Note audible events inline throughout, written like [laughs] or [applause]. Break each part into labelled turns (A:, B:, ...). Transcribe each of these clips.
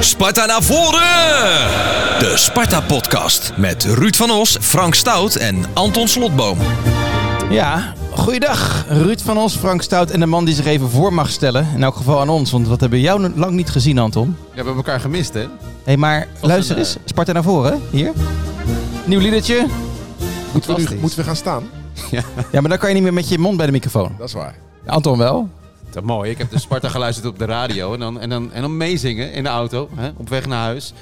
A: Sparta naar voren! De Sparta Podcast met Ruud van Os, Frank Stout en Anton Slotboom.
B: Ja, goeiedag. Ruud van Os, Frank Stout en de man die zich even voor mag stellen. In elk geval aan ons, want wat hebben we jou lang niet gezien, Anton.
C: Ja, we hebben elkaar gemist, hè?
B: Hé, hey, maar luister
C: een, eh,
B: eens. Sparta naar voren, hier. Nieuw liedertje.
C: Moeten we, nu,
B: Fantastisch.
C: moeten we gaan staan?
B: Ja, maar dan kan je niet meer met je mond bij de microfoon.
C: Dat is waar.
B: Anton wel.
C: Dat is mooi. Ik heb de Sparta geluisterd op de radio en dan, en dan, en dan meezingen in de auto hè, op weg naar huis.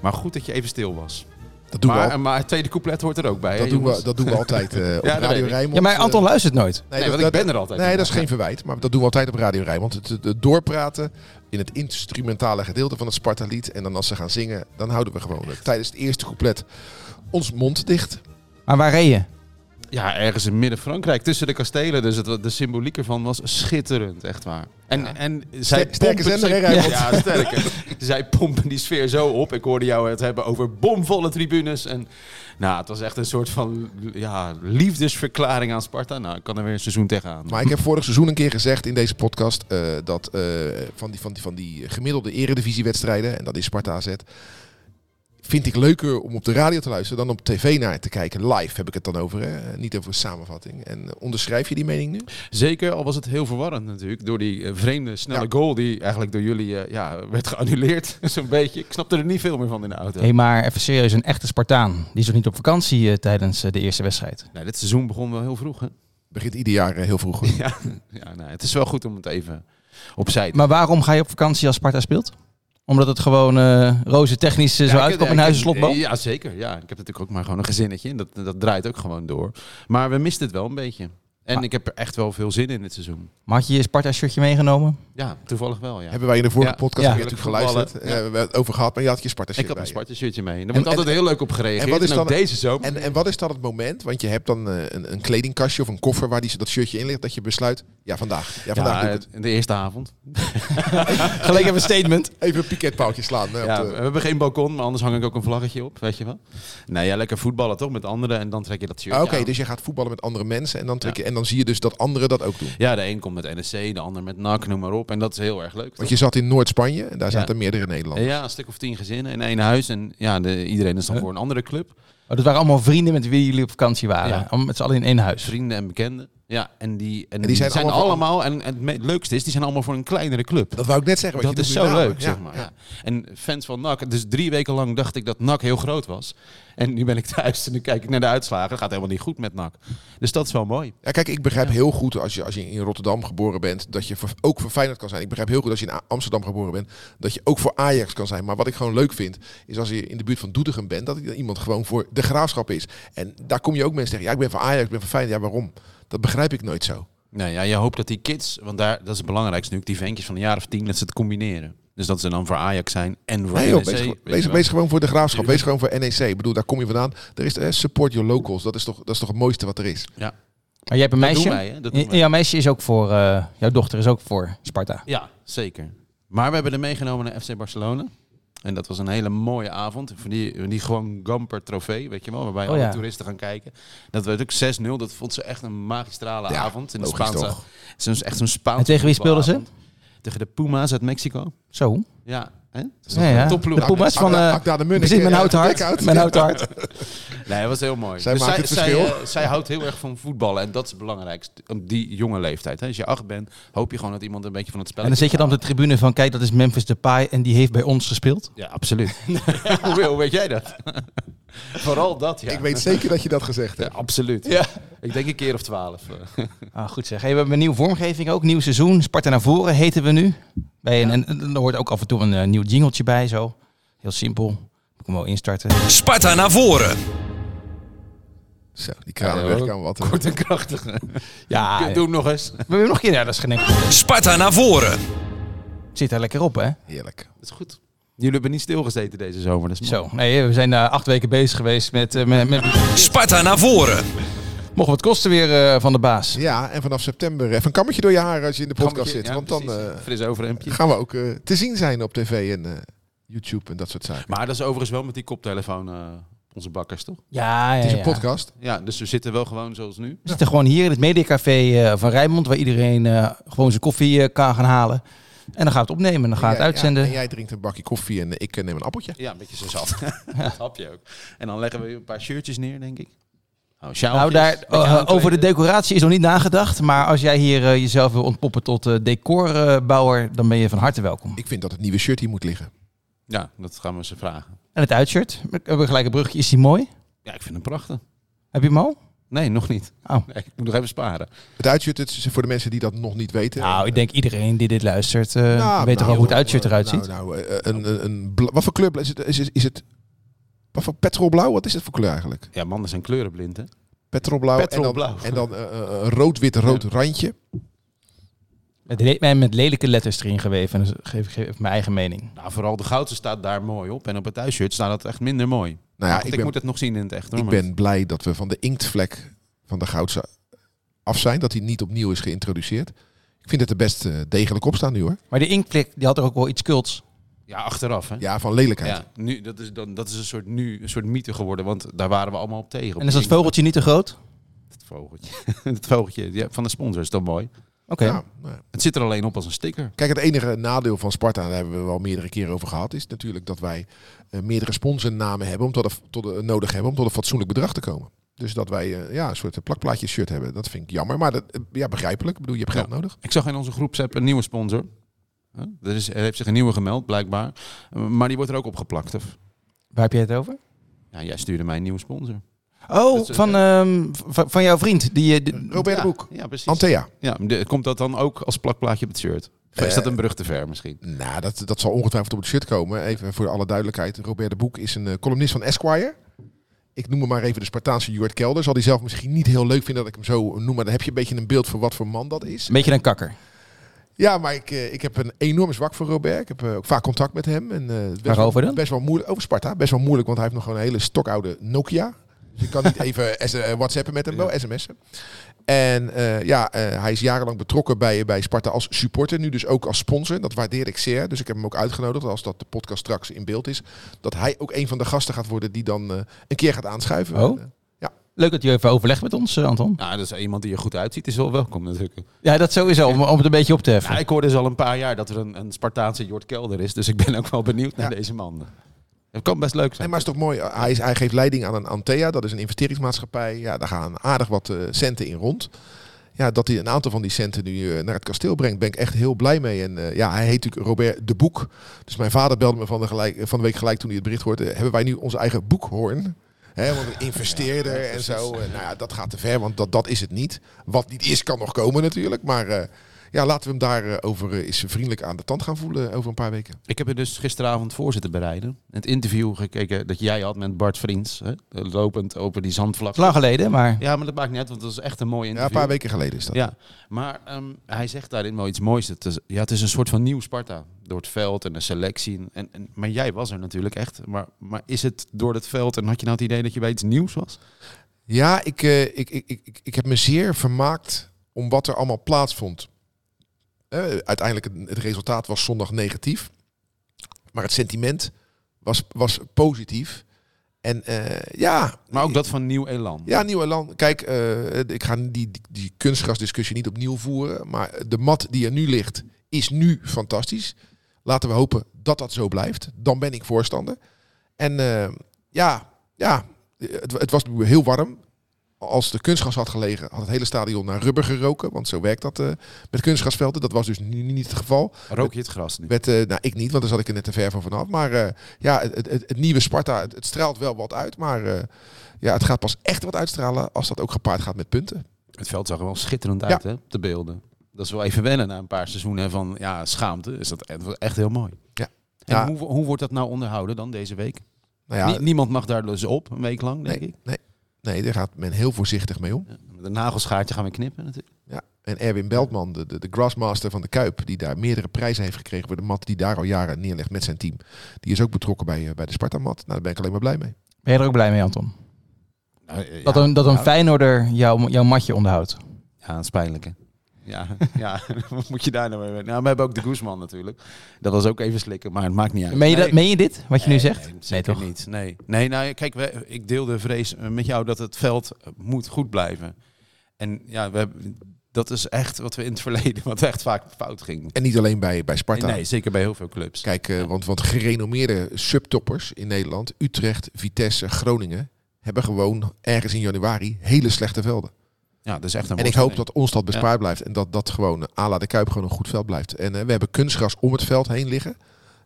C: Maar goed dat je even stil was.
D: Dat doen,
C: maar,
D: we, al-
C: maar het tweede couplet hoort er ook bij. hè,
D: dat doen,
C: jongens?
D: we, dat doen
C: [laughs]
D: we altijd eh, op
C: dat weet
D: Radio
C: ik.
D: Rijnmond.
B: Ja, maar
D: eh,
B: Anton luistert nooit.
C: Nee, want ik ben er altijd
D: Nee, dat is
C: inderdaad,
D: geen verwijt. Maar dat doen we altijd op Radio Rijnmond. Het, het- het doorpraten in het instrumentale gedeelte van het Sparta-lied. En dan als ze gaan zingen, dan houden we gewoon eh, tijdens het eerste couplet ons mond dicht.
B: Maar waar reed je?
C: Ja, ergens in midden-Frankrijk, tussen de kastelen. Dus het, wa- de symboliek ervan was schitterend, echt waar. En, en zij
D: Sterke zender, hè,
C: zij,
D: Rijnmond?
C: ja, [laughs] sterke. zij pompen die sfeer zo op. Ik hoorde jou het hebben over bomvolle tribunes. En nou, het was echt een soort van ja, liefdesverklaring aan Sparta. Nou, ik kan er weer een seizoen tegenaan.
D: Maar ik heb vorig seizoen een keer gezegd in deze podcast eh, dat eh, van, die, van, die, van die gemiddelde eredivisiewedstrijden, en dat is Sparta AZ, vind ik leuker om op de radio te luisteren dan op tv naar te kijken. Live heb ik het dan over, hè? niet over een samenvatting. En eh, onderschrijf je die mening nu?
C: Zeker, al was het heel verwarrend natuurlijk. Door die eh, vreemde, snelle
D: Ja.
C: goal die eigenlijk door jullie eh, ja, werd geannuleerd. [laughs] Zo'n beetje. Ik snapte er niet veel meer van in de auto.
B: Hé, hey, maar even serieus, een echte Spartaan. Die is nog niet op vakantie eh, tijdens eh, de eerste wedstrijd.
C: Nee, dit seizoen begon wel heel vroeg, hè?
D: Begint ieder jaar eh, heel
C: [laughs]
D: vroeg. hoor.
C: Ja, ja nee, het is wel goed om het even opzij te
B: Maar waarom ga je op vakantie als Sparta speelt? Omdat het gewoon eh roze technisch eh, zo
C: Ja, ik-
B: uitkomt in
C: ja, ik-
B: huis en slotboom?
C: Ja, zeker. Ja, ik heb natuurlijk ook maar gewoon een gezinnetje. En dat, dat draait ook gewoon door. Maar we misten het wel een beetje. En
B: Maar-
C: ik heb er echt wel veel zin in dit seizoen.
B: Maar had je je Sparta-shirtje meegenomen?
C: Ja, toevallig wel, ja.
D: Hebben wij in de vorige
C: Ja.
D: podcast
B: Ja.
D: weer natuurlijk geluisterd.
C: Voetballen,
D: Eh, we hebben het over gehad, maar je had je Sparta
C: Ik
D: shirt
C: had
D: bij
C: mijn
D: je.
C: Sparta shirtje mee. Daar
D: En-
C: wordt altijd heel leuk op gereageerd. En, wat is dan, ook
D: dan-
C: deze zomer.
D: En, en wat is dan het moment, want je hebt dan eh, een, een kledingkastje of een koffer waar die, dat shirtje in ligt, dat je besluit, ja vandaag, ja vandaag
C: ja,
D: doe ik het.
C: de eerste avond.
B: Gelijk even een statement.
D: Even een piketpaaltje slaan. eh, op
C: Ja,
D: de-
C: we hebben geen balkon, maar anders hang ik ook een vlaggetje op, weet je wel. Nou ja, lekker voetballen toch met anderen en dan trek je dat shirt
D: Ah, Oké,
C: aan.
D: dus je gaat voetballen met andere mensen en dan, trek je, en dan zie je dus dat anderen dat ook doen.
C: Ja, de een komt met NSC, de ander met NAC, noem maar op. En dat is heel erg leuk.
D: Want je zat in Noord-Spanje en daar
C: Ja.
D: zaten meerdere Nederlanders.
C: Ja, een stuk of tien gezinnen in één huis. En ja, de, iedereen is dan voor een andere club.
B: Oh, dat waren allemaal vrienden met wie jullie op vakantie waren.
C: Ja.
B: Allemaal Met z'n allen in één huis.
C: vrienden en bekenden. Ja, en die, en
D: die
C: die zijn,
D: zijn allemaal voor-
C: allemaal, en, en het me- het leukste is, die zijn allemaal voor een kleinere club.
D: Dat wou ik net zeggen. want
C: Dat
D: je
C: is
D: noemt
C: zo
D: nu
C: leuk,
D: namen.
C: zeg maar. ja. En fans van NAC, dus drie weken lang dacht ik dat NAC heel groot was. En nu ben ik thuis en nu kijk ik naar de uitslagen. Het gaat helemaal niet goed met NAC. Dus dat is wel mooi.
D: Ja, kijk, ik begrijp heel goed als je, als je in Rotterdam geboren bent, dat je voor, ook voor Feyenoord kan zijn. Ik begrijp heel goed als je in A- Amsterdam geboren bent, dat je ook voor Ajax kan zijn. Maar wat ik gewoon leuk vind, is als je in de buurt van Doetinchem bent, dat iemand gewoon voor de graafschap is. En daar kom je ook mensen tegen. Ja, ik ben voor Ajax, ik ben voor Feyenoord. Ja, waarom? Dat begrijp ik nooit zo.
C: Nou ja, je hoopt dat die kids, want daar, dat is het belangrijkste nu, die ventjes van een jaar of tien, dat ze het combineren. Dus dat ze dan voor Ajax zijn en voor
D: Nee,
C: NEC.
D: joh,
C: weet
D: wees,
C: je
D: gewoon-
C: wel.
D: wees, wees gewoon voor de graafschap. Wees gewoon voor NEC. Ik bedoel, daar kom je vandaan. Er is eh, support your locals. Dat is, toch, dat is toch het mooiste wat er is.
C: Ja.
B: Maar jij hebt een
C: Dat
B: meisje.
C: doen wij, hè? Dat doen
B: Ja,
C: wij.
B: Jouw meisje is ook voor, eh, jouw dochter is ook voor Sparta.
C: Ja, zeker. Maar we hebben er meegenomen naar FC Barcelona. En dat was een hele mooie avond. Van die, die gewoon Gamper trofee, weet je wel. Waarbij
B: Oh
C: alle
B: ja.
C: toeristen gaan kijken. Dat werd ook 6-0. Dat vond ze echt een magistrale
D: Ja,
C: avond. In de
D: logisch
C: Spaanse,
D: toch.
C: het is echt zo'n Spaanse
B: En tegen wie speelden ze?
C: voetbalavond. Tegen de Puma's uit Mexico.
B: Zo.
C: Ja, hè? Dat is
B: Ja,
C: toch een
B: ja.
C: topploeg.
B: De Puma's van...
D: Akda-
B: eh,
D: Akda de Munnik,
B: Precies, mijn
D: eh,
B: houten hart.
D: blackout.
B: Mijn
D: [laughs]
B: houten hart.
C: Nee, dat was heel mooi.
D: Zij maakt het verschil.
C: eh, zij houdt heel erg van voetballen. En dat is het belangrijkste. Op die jonge leeftijd. Hè? Als je acht bent, hoop je gewoon dat iemand een beetje van het spel.
B: En dan zit je dan op de tribune van, kijk, dat is Memphis Depay en die heeft bij ons gespeeld.
C: Ja, absoluut. [laughs] hoe, hoe weet jij dat? [laughs] Vooral dat, ja.
D: Ik weet zeker dat je dat gezegd
C: Ja,
D: hebt.
C: absoluut. Ik denk een keer of twaalf. eh.
B: Ah, goed zeg. Hey, we hebben een nieuwe vormgeving ook, nieuw seizoen. Sparta naar voren heten we nu. Bij een, en, en er hoort ook af en toe een eh, nieuw jingeltje bij, zo. Heel simpel. Ik hem wel instarten.
A: Sparta naar voren.
D: Zo, die
C: Ja,
D: kranenweg
C: hoor.
D: kan wat.
C: Kort en krachtig. [laughs]
B: Ja,
C: Doe hem nog eens.
B: we hebben nog een keer, ja, dat is geen enkel-
A: Sparta naar voren.
B: Zit daar lekker op, hè?
D: Heerlijk.
C: Dat is goed. Jullie hebben niet stilgezeten deze zomer. Dat is mooi.
B: Zo, nee, we zijn eh, acht weken bezig geweest met... eh, met, met
A: Sparta naar voren.
B: mocht wat kosten weer eh, van de baas.
D: Ja, en vanaf september eh, even een kammetje door je haar als je in de podcast
C: Kammetje,
D: zit.
C: ja,
D: want dan
C: precies.
D: eh,
C: Fris
D: [laughs]
C: overhemdje.
D: gaan we ook eh, te zien zijn op tv en eh, YouTube en dat soort zaken.
C: Maar dat is overigens wel met die koptelefoon eh, onze bakkers, toch?
B: Ja, ja,
D: Het is
B: ja.
D: een podcast.
C: Ja, dus we zitten wel gewoon zoals nu.
B: We zitten gewoon hier in het Mediacafé eh, van Rijnmond, waar iedereen eh, gewoon zijn koffie eh, kan gaan halen. En dan gaan we het opnemen en dan gaan we het
D: Jij- ja,
B: uitzenden.
D: en jij drinkt een bakje koffie en eh, ik eh, neem een appeltje.
C: Ja, een beetje zo [laughs] zat. dat hap je ook. En dan leggen we een paar shirtjes neer, denk ik. Nou,
B: Nou, daar, eh, over de decoratie is nog niet nagedacht. Maar als jij hier eh, jezelf wil ontpoppen tot eh, decorbouwer, dan ben je van harte welkom.
D: Ik vind dat het nieuwe shirt hier moet liggen.
C: Ja, dat gaan we ze vragen.
B: En het uitshirt, we hebben gelijk een brugje. Is die mooi?
C: Ja, ik vind hem prachtig.
B: Heb je hem al?
C: Nee, nog niet.
B: Oh.
C: Nee, ik moet nog even sparen.
D: Het uitshirt het is voor de mensen die dat nog niet weten.
B: Nou, ik denk iedereen die dit luistert, eh,
D: Nou,
B: weet toch
D: nou,
B: wel hoe het uitshirt eruit
D: nou,
B: ziet.
D: Nou, eh, een, een, een bla- wat voor kleur is het? Is, is, is het wat voor petrolblauw? Wat is het voor kleur eigenlijk?
C: Ja, mannen zijn kleurenblind, hè?
D: Petrolblauw.
C: Petrolblauw.
D: En dan, en dan eh, eh, een rood-wit-rood randje.
B: Met, le- en met lelijke letters erin geweven. En dan geef ik geef ik mijn eigen mening.
C: Nou, vooral de goudse staat daar mooi op. En op het thuisshirt staat dat echt minder mooi.
D: Nou ja,
C: Want
D: ik
C: ik,
D: ben,
C: moet het nog zien in het echt, hoor.
D: ik
C: maar-
D: ben blij dat we van de inktvlek van de goudse af zijn. Dat hij niet opnieuw is geïntroduceerd. Ik vind het er best eh, degelijk op staan nu hoor.
B: Maar de inkplik, die had er ook wel iets cults.
C: Ja, achteraf, hè?
D: Ja, van lelijkheid.
C: Ja, nu, dat, is dan, dat is een soort, nu een soort mythe geworden, want daar waren we allemaal op tegen. Op
B: En is dat
C: die-
B: vogeltje niet te groot?
C: Het vogeltje. [laughs] het vogeltje ja, van de sponsor is dan mooi.
B: Oké.
D: Ja, nou ja.
C: Het zit er alleen op als een sticker.
D: Kijk, het enige nadeel van Sparta, daar hebben we wel meerdere keren over gehad, is natuurlijk dat wij eh, meerdere sponsornamen hebben om tot een, tot een- nodig hebben om tot een fatsoenlijk bedrag te komen. Dus dat wij eh, ja, een soort plakplaatje shirt hebben, dat vind ik jammer. Maar dat, eh, ja, begrijpelijk. Ik bedoel, je hebt geld nodig.
C: Ik zag in onze groepsapp een nieuwe sponsor. Huh? Er, is, er heeft zich een nieuwe gemeld, blijkbaar. Uh, Maar die wordt er ook opgeplakt. Of?
B: Waar heb jij het over?
C: Ja, jij stuurde mij een nieuwe sponsor.
B: Oh,
C: Dat is,
B: van, ehm, v- van jouw vriend. Die, eh, de-
D: Robert
C: ja,
D: de Boek.
C: Ja, precies.
D: Antea.
C: ja, de- komt dat dan ook als plakplaatje op het shirt? Of is dat een brug te ver misschien?
D: Nou, dat, dat zal ongetwijfeld op het shirt komen. Even voor alle duidelijkheid. Robert de Boek is een eh, columnist van Esquire. Ik noem hem maar even de Spartaanse Jord Kelder. Zal hij zelf misschien niet heel leuk vinden dat ik hem zo noem. Maar dan heb je een beetje een beeld van wat voor man dat is.
B: Een beetje een kakker.
D: Ja, maar ik, eh, ik heb een enorm zwak voor Robert. Ik heb eh, ook vaak contact met hem. En, eh, het is best
B: Waarover
D: wel,
B: dan?
D: Best wel moeilijk. Over Sparta. Best wel moeilijk, want hij heeft nog gewoon een hele stokoude Nokia. Dus ik
B: [laughs]
D: kan niet even s- eh, whatsappen met hem, wel sms'en. En eh, ja, eh, hij is jarenlang betrokken bij, bij Sparta als supporter. Nu dus ook als sponsor. Dat waardeer ik zeer. Dus ik heb hem ook uitgenodigd, als dat de podcast straks in beeld is. Dat hij ook een van de gasten gaat worden die dan eh, een keer gaat aanschuiven.
B: Oh.
D: Eh,
B: Leuk dat je even overlegt met ons, eh, Anton.
C: Nou, dat is iemand die er goed uitziet, is wel welkom natuurlijk.
B: Ja, dat sowieso, om, om het een beetje op te heffen.
C: Nou, ik hoor dus al een paar jaar dat er een, een Spartaanse Jort Kelder is. Dus ik ben ook wel benieuwd naar
D: Ja.
C: deze man. Het kan best leuk
D: Nee,
C: zijn.
D: maar is toch mooi. Uh, Hij, is, hij geeft leiding aan een Antea, dat is een investeringsmaatschappij. Ja, daar gaan aardig wat eh, centen in rond. Ja, dat hij een aantal van die centen nu eh, naar het kasteel brengt, ben ik echt heel blij mee. En eh, ja, hij heet natuurlijk Robert de Boek. Dus mijn vader belde me van de, gelijk, eh, van de week gelijk toen hij het bericht hoorde. eh, Hebben wij nu onze eigen boekhoorn? Hè, want een investeerder en zo. eh, nou ja, dat gaat te ver, want dat, dat is het niet. Wat niet is, kan nog komen natuurlijk. Maar eh, ja, laten we hem daarover over eh, eens vriendelijk aan de tand gaan voelen eh, over een paar weken.
C: Ik heb er dus gisteravond voor zitten bereiden. Het interview gekeken dat jij had met Bart Vriends. Hè? Lopend over die
B: Het
C: zandvlak.
B: is lang geleden, maar
C: Ja, maar dat maakt niet uit, want dat is echt een mooi
D: Ja, een
C: interview.
D: paar weken geleden is dat.
C: Ja, maar ehm, hij zegt daarin wel iets moois. Het is, ja, het is een soort van nieuw Sparta. Door het veld en de selectie. En, en, maar jij was er natuurlijk echt. Maar, maar is het door het veld en had je nou het idee dat je bij iets nieuws was?
D: Ja, ik, eh, ik, ik, ik, ik, ik heb me zeer vermaakt om wat er allemaal plaatsvond. Eh, uiteindelijk, het, het resultaat was zondag negatief. Maar het sentiment was, was positief. En eh, ja...
C: Maar ook dat van nieuw elan.
D: Ja, nieuw elan. Kijk, eh, ik ga die, die, die kunstgrasdiscussie niet opnieuw voeren. Maar de mat die er nu ligt, is nu fantastisch. Laten we hopen dat dat zo blijft. Dan ben ik voorstander. En eh, ja, ja het, het was nu heel warm. Als de kunstgas had gelegen, had het hele stadion naar rubber geroken. Want zo werkt dat eh, met kunstgrasvelden. Dat was dus nu niet het geval.
C: Rook je het gras nu?
D: Werd, eh, nou, ik niet, want daar zat ik er net te ver van vanaf. Maar eh, ja, het, het, het nieuwe Sparta, het, het straalt wel wat uit. Maar eh, ja, het gaat pas echt wat uitstralen als dat ook gepaard gaat met punten.
C: Het veld zag er wel schitterend
D: Ja.
C: uit, hè, op de beelden. Dat is wel even wennen na een paar seizoenen van ja, schaamte. Is dat echt- echt heel mooi.
D: Ja.
C: En
D: Ja.
C: Hoe, hoe wordt dat nou onderhouden dan deze week?
D: Nou ja,
C: Nie- niemand mag daar dus op, een week lang, denk
D: nee,
C: ik.
D: nee, nee, daar gaat men heel voorzichtig mee om.
C: Ja. Met een nagelschaartje gaan we knippen natuurlijk.
D: Ja. En Erwin Beltman, de, de, de grassmaster van de Kuip, die daar meerdere prijzen heeft gekregen voor de mat die daar al jaren neerlegt met zijn team. Die is ook betrokken bij, eh, bij de Sparta-mat. Nou, daar ben ik alleen maar blij mee.
B: ben je er ook blij mee, Anton?
C: Nou, eh,
B: Dat
C: ja,
B: een, dat een
C: ja.
B: Feyenoorder jouw, jouw matje onderhoudt.
C: Ja, dat is pijnlijk hè. Ja, [laughs] ja, wat moet je daar nou mee? Nou, we hebben ook de Guzman natuurlijk. Dat was ook even slikken, maar het maakt niet uit.
B: Meen je, dat,
C: Nee.
B: meen je dit, wat je nu zegt?
C: Nee, zeker
B: toch?
C: niet. Nee, nee nou, ja, kijk, we, ik deel de vrees eh, met jou dat het veld eh, moet goed blijven. En ja, we hebben, Dat is echt wat we in het verleden, wat echt vaak fout ging.
D: En niet alleen bij, bij Sparta.
C: Nee, zeker bij heel veel clubs.
D: Kijk, eh, want, want gerenommeerde subtoppers in Nederland, Utrecht, Vitesse, Groningen, hebben gewoon ergens in januari hele slechte velden.
C: Ja, dat is echt een
D: En ik hoop
C: worsteling.
D: dat ons dat bespaard blijft en dat dat gewoon eh, à la de Kuip gewoon een goed veld blijft. En eh, we hebben kunstgras om het veld heen liggen.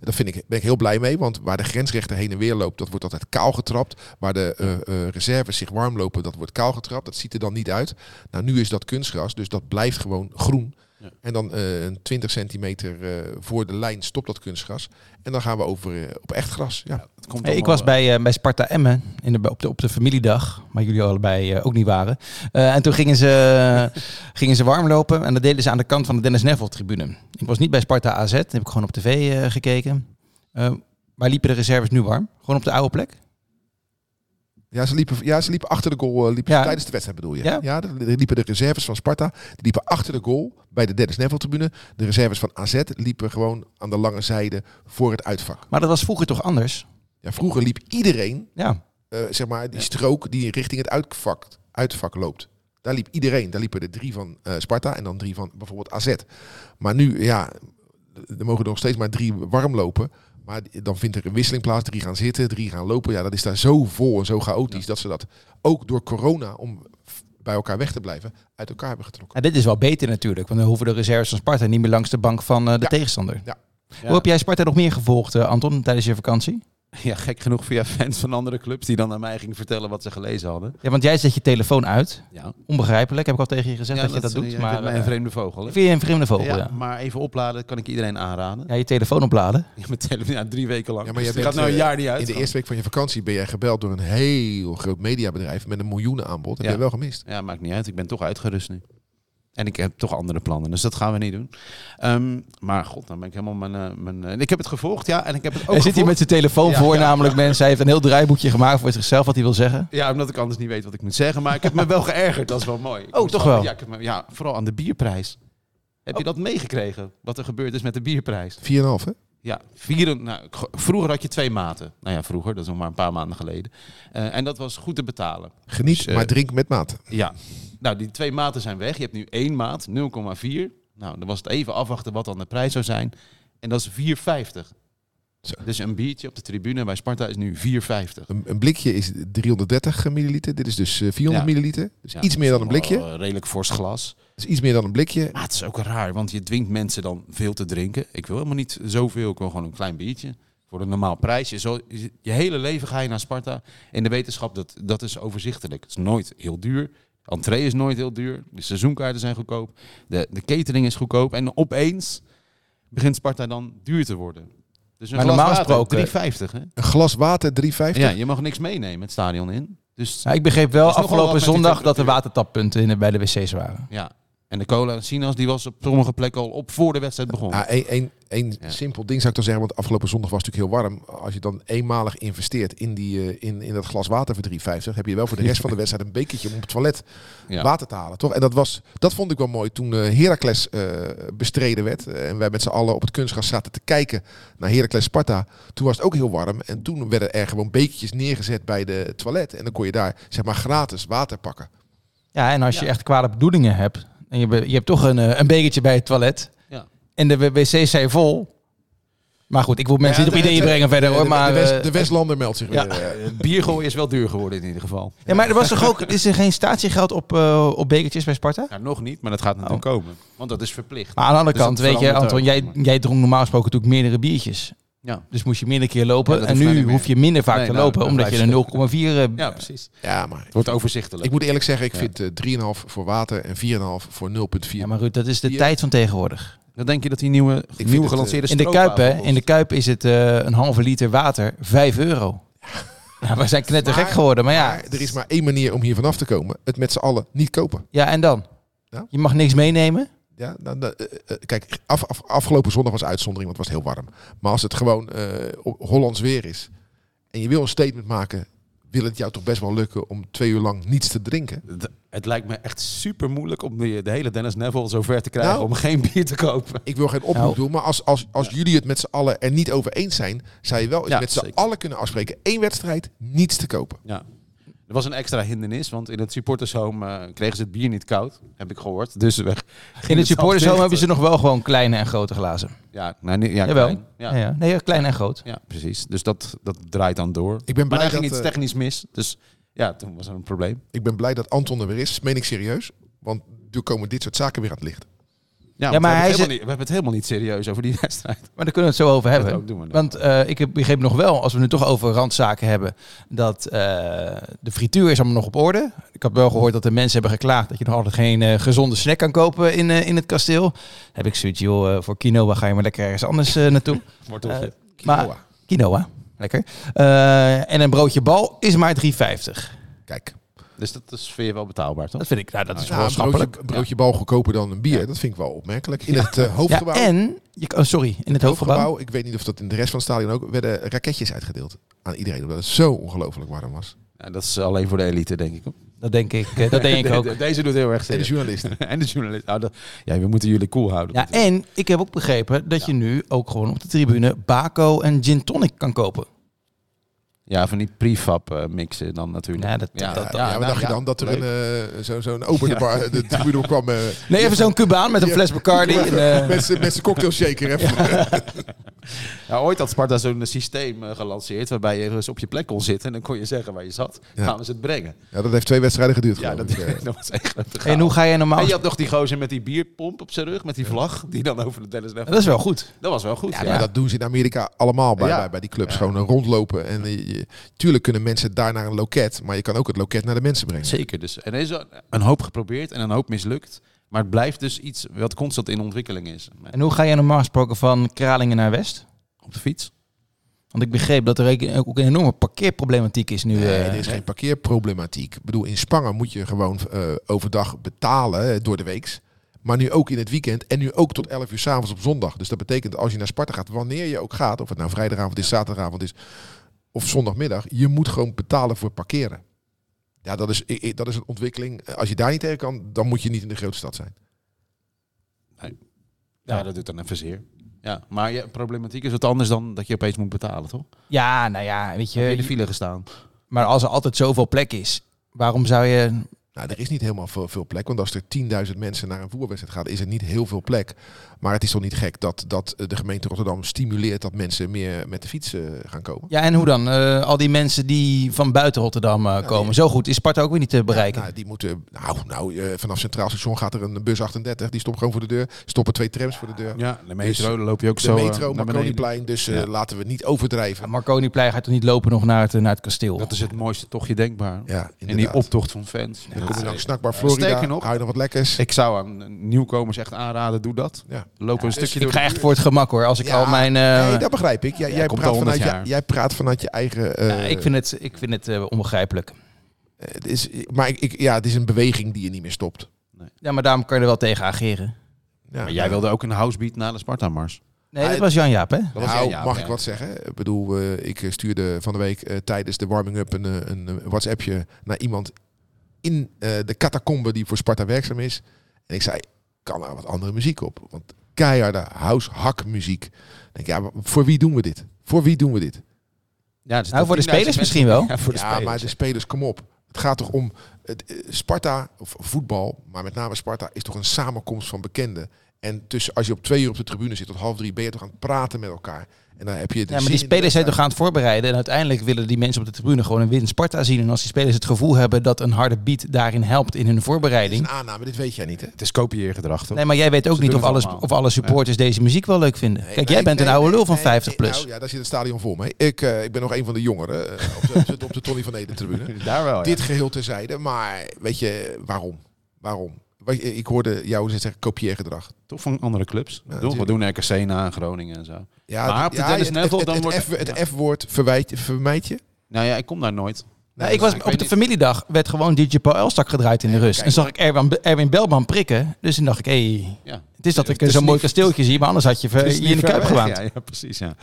D: Daar vind ik, ben ik heel blij mee, want waar de grensrechter heen en weer loopt, dat wordt altijd kaal getrapt. Waar de eh, eh, reserves zich warm lopen, dat wordt kaal getrapt. Dat ziet er dan niet uit. Nou, nu is dat kunstgras, dus dat blijft gewoon groen.
C: Ja.
D: En dan eh, een 20 centimeter eh, voor de lijn stopt dat kunstgras. En dan gaan we over eh, op echt gras. Ja.
C: Ja, het komt
B: Hey, ik
C: allemaal,
B: was
C: eh,
B: bij, eh, bij Sparta Emmen in de, op, de, op de familiedag, waar jullie allebei eh, ook niet waren. Eh, en toen gingen ze, gingen ze warm lopen en dat deden ze aan de kant van de Dennis Neville tribune. Ik was niet bij Sparta AZ, dat heb ik gewoon op tv eh, gekeken. Eh, waar liepen de reserves nu warm? Gewoon op de oude plek?
D: Ja, ze liepen, ja, ze liepen achter de goal eh, liepen ze
B: Ja.
D: tijdens de wedstrijd, bedoel je?
B: Ja.
D: Ja, er er liepen de reserves van Sparta die liepen achter de goal bij de Dennis Neville-tribune. De reserves van AZ liepen gewoon aan de lange zijde voor het uitvak.
B: Maar dat was vroeger toch anders?
D: Ja, vroeger liep iedereen,
B: Ja,
D: eh, zeg maar, die strook die richting het uitvak, uitvak loopt. Daar liep iedereen. Daar liepen er drie van eh, Sparta en dan drie van bijvoorbeeld AZ. Maar nu, ja, er mogen er nog steeds maar drie warm lopen. Maar dan vindt er een wisseling plaats. Drie gaan zitten, drie gaan lopen. Ja, dat is daar zo vol en zo chaotisch dat ze dat ook door corona, om f- bij elkaar weg te blijven, uit elkaar hebben getrokken.
B: en dit is wel beter natuurlijk, want dan hoeven de reserves van Sparta niet meer langs de bank van eh, de
D: Ja.
B: tegenstander.
D: Ja.
C: Ja.
B: Hoe heb jij Sparta nog meer gevolgd, eh, Anton, tijdens je vakantie?
C: [laughs] Ja, gek genoeg via fans van andere clubs die dan aan mij gingen vertellen wat ze gelezen hadden.
B: Ja, want jij zet je telefoon uit.
C: Ja,
B: Onbegrijpelijk, heb ik al tegen je gezegd dat, je dat doet.
C: jij
B: maar
C: vindt mij
B: eh,
C: een vreemde vogel. hè?
B: vind je een vreemde vogel, ja.
C: ja, maar even opladen kan ik iedereen aanraden.
B: Ja, je telefoon opladen.
C: Ja, mijn telefoon ja, drie weken lang.
D: Ja, maar jij
C: Dus die
D: bent,
C: gaat nou een
D: eh,
C: jaar niet uit.
D: In de
C: gewoon.
D: eerste week van je vakantie ben jij gebeld door een heel groot mediabedrijf met een miljoenen aanbod. Heb
C: Ja.
D: je wel gemist.
C: Ja, maakt niet uit. Ik ben toch uitgerust nu. En ik heb toch andere plannen, dus dat gaan we niet doen. Ehm, maar god, dan ben ik helemaal mijn... eh, mijn eh, en ik heb het gevolgd, ja. En ik heb het ook
B: hij zit hier met
C: gevolgd.
B: zijn telefoon
C: Ja,
B: voor,
C: ja.
B: namelijk mensen. Hij heeft een heel draaiboekje gemaakt voor zichzelf wat hij wil zeggen.
C: Ja, omdat ik anders niet weet wat ik moet zeggen. Maar ik heb me wel geërgerd, dat is wel mooi. Ik
B: Oh,
C: moest
B: toch wel? Oh.
C: Ja, ik heb me- ja, vooral aan de bierprijs. Heb je dat meegekregen, wat er gebeurd is met de bierprijs?
D: 4,5 hè?
C: Ja, vieren, nou, ik- vroeger had je twee maten. Nou ja, vroeger, dat is nog maar een paar maanden geleden. Eh, en dat was goed te betalen.
D: Geniet,
C: Dus, eh,
D: maar drink met maat.
C: Ja, nou die twee maten zijn weg. Je hebt nu één maat, 0,4. Nou, dan was het even afwachten wat dan de prijs zou zijn. En dat is 4,50.
D: Zo.
C: Dus een biertje op de tribune bij Sparta is nu 4,50.
D: Een, een blikje is 330 milliliter. Dit is dus eh, 400
C: Ja.
D: milliliter. Dus
C: Ja,
D: iets meer dan een blikje.
C: wel, eh, redelijk fors glas.
D: Dus iets meer dan een blikje.
C: Maar het is ook raar, want je dwingt mensen dan veel te drinken. Ik wil helemaal niet zoveel, ik wil gewoon een klein biertje. Voor een normaal prijsje. Zo, je je hele leven ga je naar Sparta. En de wetenschap, dat, dat is overzichtelijk. Het is nooit heel duur. Entree is nooit heel duur. De seizoenkaarten zijn goedkoop. De, de catering is goedkoop. En opeens begint Sparta dan duur te worden. Dus een
B: Maar
C: glas
B: normaal gesproken-
C: water, 3,50. Hè?
D: Een glas water 3,50.
C: Ja, je mag niks meenemen het stadion in. Dus
B: Nou, ik begreep wel
C: Dat is nogal
B: afgelopen
C: wat met die
B: zondag dat er
C: temperatuur.
B: watertappunten in, bij de wc's waren.
C: ja. En de cola en sinaas, die was op sommige plekken al op voor de wedstrijd begonnen.
D: Ah, één één- één
C: Ja.
D: simpel ding zou ik dan zeggen, want afgelopen zondag was het natuurlijk heel warm. Als je dan eenmalig investeert in, die, eh, in, in dat glas water voor 3,50, heb je wel voor de
C: [laughs]
D: rest van de wedstrijd een bekertje om op het toilet
C: Ja.
D: water te halen, toch? En dat, was, dat vond ik wel mooi toen eh, Heracles eh, bestreden werd. eh, en wij met z'n allen op het kunstgras zaten te kijken naar Heracles Sparta. Toen was het ook heel warm. En toen werden er gewoon bekertjes neergezet bij de toilet. En dan kon je daar, zeg maar, gratis water pakken.
B: Ja, en als je
C: Ja.
B: echt kwade bedoelingen hebt en je, be- je hebt toch een, eh, een bekertje bij het toilet
C: Ja.
B: en de w- wc's zijn vol. Maar goed, ik wil mensen
D: Ja,
B: niet op
D: de-
B: ideeën
D: de-
B: brengen verder
D: Eh,
B: hoor.
D: de,
B: Maar,
D: de, West-
B: eh,
D: de Westlander meldt zich
B: ja.
D: weer. eh.
C: Biergooi is wel duur geworden in ieder geval.
B: ja, maar er was toch ook, [laughs] is er geen statiegeld op, eh, op bekertjes bij Sparta?
C: Ja, nog niet, maar dat gaat natuurlijk komen. Want dat is verplicht.
B: Maar aan de andere
C: Dus dat
B: kant, weet je,
C: verandert
B: Anton,
C: ook,
B: jij,
C: maar-
B: jij dronk normaal gesproken natuurlijk meerdere biertjes.
C: Ja,
B: Dus moest je minder keer lopen.
C: Ja, dat
B: en
C: hoeft mij niet
B: nu
C: meer.
B: hoef je minder vaak
C: Nee,
B: te
C: nou,
B: lopen,
C: dan
B: omdat
C: blijf
B: je
C: je
B: een 0,4... eh,
C: ja precies.
D: ja, maar
C: Het wordt overzichtelijk.
D: Ik moet eerlijk zeggen, ik
C: Ja.
D: vind eh, 3,5 voor water en 4,5 voor 0,4.
B: Ja, maar Ruud, dat is de
D: Hier.
B: tijd van tegenwoordig.
C: Dan denk je dat die nieuwe,
D: vind
C: nieuwe
D: het,
C: gelanceerde
B: In de Kuip,
C: stroopwafel
B: hè, in de
C: kost?
B: Kuip is het eh, een halve liter water 5 euro. Ja, we zijn knettergek
D: Maar-
B: geworden, maar ja.
D: Maar er is maar één manier om hier vanaf te komen. Het met z'n allen niet kopen.
B: Ja, en dan?
D: Ja?
B: Je mag niks meenemen.
D: Ja, nou, nou, eh, eh, kijk, af, af- afgelopen zondag was uitzondering, want het was heel warm. Maar als het gewoon eh, op- Hollands weer is en je wil een statement maken, wil het jou toch best wel lukken om twee uur lang niets te drinken?
C: D- Het lijkt me echt super moeilijk om de, de hele Dennis Neville zover te krijgen
D: Nou.
C: om geen bier te kopen.
D: Ik wil geen oproep
B: Nou.
D: doen, maar als, als, als jullie het met z'n allen er niet over eens zijn, zou je wel eens
C: Ja,
D: met z'n
C: zeker.
D: allen kunnen afspreken. één wedstrijd, niets te kopen.
C: Ja. Er was een extra hindernis, want in het supportershome eh, kregen ze het bier niet koud, heb ik gehoord. Dus weg.
B: In het supportershome hebben ze nog wel gewoon kleine en grote glazen.
C: Ja, nou, nee, ja,
B: Jawel.
C: klein. Ja,
B: Ja. Ja. Nee, ja, klein en groot.
C: ja, precies. Dus dat, dat draait dan door.
D: Ik ben
C: maar
D: blij
C: daar ging
D: dat,
C: iets
D: eh,
C: technisch mis. Dus ja, toen was er een probleem.
D: Ik ben blij dat Anton er weer is. Meen ik serieus. Want nu komen dit soort zaken weer aan het licht.
C: Ja,
B: maar
C: maar we,
B: hij is-
C: hebben het helemaal niet, we hebben het helemaal niet serieus over die [laughs] wedstrijd.
B: Maar daar kunnen we het zo over hebben.
C: ook doen we nog.
B: Want eh, ik heb- begreep nog wel, als we nu toch over randzaken hebben, dat eh, de frituur is allemaal nog op orde. Ik had wel gehoord dat de mensen hebben geklaagd dat je nog altijd geen eh, gezonde snack kan kopen in, eh, in het kasteel. Dan heb ik zoiets, joh, eh, voor quinoa ga je maar lekker ergens anders eh, [laughs] naartoe.
C: Wordt uh,
B: Maar-
D: Quinoa.
B: Quinoa, lekker. Eh, en een broodje bal is maar 3,50.
D: Kijk,
C: Dus dat is, vind je wel betaalbaar, toch?
B: Dat vind ik, nou dat is
D: Ah, ja,
B: wel
D: een broodje,
B: schappelijk.
D: een broodje bal goedkoper dan een bier. Dat vind ik wel opmerkelijk. In het eh,
B: Ja,
D: hoofdgebouw,
B: en, je, kan- oh, sorry, in het hoofdgebouw.
D: gebouw, ik weet niet of dat in de rest van het stadion ook, werden raketjes uitgedeeld aan iedereen. Omdat het zo ongelooflijk warm was.
C: Ja, dat is alleen voor de elite, denk ik. hoor.
B: Dat denk ik, eh, dat [laughs] denk ik
C: [laughs] De-
B: ook.
C: de- Deze doet heel erg
D: En de
C: serieus.
D: journalisten.
C: en de journalist. Nou, dat- ja, we moeten jullie cool houden.
B: Ja, en ik heb ook begrepen dat je nu ook gewoon op de tribune Baco en Gin Tonic kan kopen.
C: Ja, van die prefab eh, mixen dan natuurlijk.
B: Ja, nou dat- dat-
D: Ja, ja,
C: nou
D: wat dacht je dan? Dat er een, eh, zo- zo'n open de, bar, de tribune kwam eh,
B: Nee, even
D: [laughs]
B: zo'n Cubaan met een
D: Ja.
B: fles Bacardi. En, eh,
D: [laughs] met z'n- met zijn cocktail shaker. Even.
C: Ja, ooit had Sparta zo'n systeem eh, gelanceerd waarbij je dus op je plek kon zitten en dan kon je zeggen waar je zat.
D: Ja.
C: Gaan we ze het brengen.
D: Ja, dat heeft twee wedstrijden geduurd.
C: Ja, dat,
D: geloof ik. eh.
C: dat was echt een verhaal.
B: en hoe ga je normaal...
C: En je had nog die gozer met die bierpomp op zijn rug, met die vlag, die dan over de Dennis Neffel-
B: Dat is wel goed.
C: Dat was wel goed. [laughs] Ja,
D: Ja, maar dat doen ze in Amerika allemaal bij,
C: Ja.
D: bij, bij die clubs. Gewoon eh, rondlopen. En eh, je- tuurlijk kunnen mensen daar naar een loket. Maar je kan ook het loket naar de mensen brengen.
C: Zeker. Dus. En er is een hoop geprobeerd en een hoop mislukt. Maar het blijft dus iets wat constant in ontwikkeling is.
B: En hoe ga je normaal gesproken van Kralingen naar West?
C: Op de fiets?
B: Want ik begreep dat er ook- ook een enorme parkeerproblematiek is nu.
D: Nee,
B: eh.
D: er is geen parkeerproblematiek. Ik bedoel, in Spangen moet je gewoon eh, overdag betalen eh, door de weeks. Maar nu ook in het weekend en nu ook tot 11 uur s'avonds op zondag. Dus dat betekent als je naar Sparta gaat, wanneer je ook gaat, of het nou vrijdagavond is, zaterdagavond is of zondagmiddag, je moet gewoon betalen voor parkeren. Ja, dat is, i- i- dat is een ontwikkeling. Eh, Als je daar niet tegen kan, dan moet je niet in de grote stad zijn.
C: Ja, dat doet dan even zeer. Ja, maar je problematiek is wat anders dan dat je opeens moet betalen, toch?
B: Ja, nou ja, weet
C: Heb je in de
B: je.
C: file gestaan?
B: Maar als er altijd zoveel plek is, waarom zou je...
D: Nou, er is niet helemaal veel, veel plek. Want als er 10.000 mensen naar een voetbalwedstrijd gaan, is er niet heel veel plek. Maar het is toch niet gek dat, dat eh, de gemeente Rotterdam stimuleert dat mensen meer met de fiets eh, gaan komen.
B: Ja, en hoe dan? Eh, al die mensen die van buiten Rotterdam eh, komen. Zo goed is Sparta ook weer niet te bereiken.
D: Nou, die moeten, nou, nou eh, vanaf Centraal Station gaat er een bus 38. Die stopt gewoon voor de deur. Stoppen twee trams voor de deur.
C: Ja, de
D: metro,
C: dan loop je ook eh,
D: De metro, Marconiplein. Dus eh,
C: Ja.
D: laten we niet overdrijven.
B: Marconi-plein gaat toch niet lopen nog naar het, naar het kasteel?
C: Dat is het mooiste tochtje denkbaar.
D: Ja,
C: en die
D: inderdaad.
C: optocht van fans.
D: Dan kom je langs Snackbar
C: Sterker
D: Florida.
C: nog-
D: Nog, hou je nog wat lekkers.
C: Ik zou aan nieuwkomers echt aanraden, doe dat.
D: Ja.
C: Loop een stukje
B: Ik
C: door.
B: ga echt voor het gemak hoor. Als ik
D: Ja,
B: al mijn. eh,
D: nee, dat begrijp ik. Jij, jij,
C: komt
D: praat
C: al honderd
D: vanuit je,
C: jaar.
D: jij praat vanuit je eigen... eh,
B: eh, ik vind het, ik vind het eh, onbegrijpelijk.
D: eh, het is, maar ik, ik- ja, het is een beweging die je niet meer stopt.
B: Ja, maar daarom kan je er wel tegen ageren.
D: Ja. nou,
C: Maar jij wilde ook een housebeat na de Sparta-mars.
B: Nee,
D: Ah,
B: dat was Jan Jaap, hè?
C: Dat was
D: Nou,
C: jij, ja,
D: mag
C: ja.
D: ik wat zeggen? Ik bedoel, eh, ik stuurde van de week eh, tijdens de warming-up een, eh, een eh, WhatsAppje naar iemand in eh, de catacombe die voor Sparta werkzaam is. En ik zei, kan er wat andere muziek op? Want keiharde house hack muziek. Ik denk, ja, maar voor wie doen we dit? Voor wie doen we dit?
C: Ja, dus
B: Nou,
C: dat
B: voor de
C: 10.000
B: spelers
C: mensen-
B: misschien wel.
C: [laughs] Ja, voor de
D: ja,
C: spelers.
D: maar de spelers, kom op. Het gaat toch om het, eh, Sparta, of voetbal, maar met name Sparta, is toch een samenkomst van bekenden. En tussen, als je op twee uur op de tribune zit tot half drie, ben je toch aan het praten met elkaar. En dan heb je de
B: Ja, maar
D: zin
B: die
D: in de
B: spelers zijn
D: wedstrijd.
B: toch aan het voorbereiden. En uiteindelijk willen die mensen op de tribune gewoon een win Sparta zien. En als die spelers het gevoel hebben dat een harde beat daarin helpt in hun
D: Dit is
B: voorbereiding.
D: een aanname, dit weet jij niet, hè?
C: Het is kopieergedrag, toch?
B: Nee, maar jij weet ook
C: Ze
B: niet
C: doen
B: of
C: het
B: alles,
C: allemaal.
B: of alle supporters deze muziek wel leuk vinden. Kijk, jij
D: Nee,
B: bent een
D: nee,
B: oude lul
D: nee,
B: van
D: nee,
B: 50
D: nee,
B: plus.
D: Nou ja, daar zit het stadion vol mee. Ik, eh, ik ben nog een van de jongeren eh, op, de, op de- op de Tony van
B: [laughs]
D: Eden tribune.
C: Daar wel, ja.
D: Dit geheel terzijde, maar weet je, waarom? Waarom? Weet je, Ik hoorde jou net zeggen kopieergedrag.
C: Toch van andere clubs.
D: Ja,
C: Doe- we doen RKC na, Groningen en zo.
D: Ja,
C: Maar
D: d-
C: op de
D: ja,
C: Dennis
D: het-
C: Neville,
D: het-
C: dan
D: het
C: wordt-
D: F- Het F-woord verwijt- vermijd je.
C: Nou ja, ik kom daar nooit.
B: Nou, ik was
C: ik
B: op
C: weet
B: de
C: niet.
B: familiedag werd gewoon DJ Paul Elstak gedraaid in de rust. En zag ik Erwin, Erwin Belman prikken. Dus toen dacht ik, hé,
C: Ja.
B: het is dat ik
C: Het is
B: zo'n mooi
C: niet-
B: kasteeltje zie. Maar anders had je
C: Het is
B: je in
C: niet
B: de
C: Eh, ver
B: kuip
C: weg,
B: gewaand.
C: Ja, ja, precies, ja.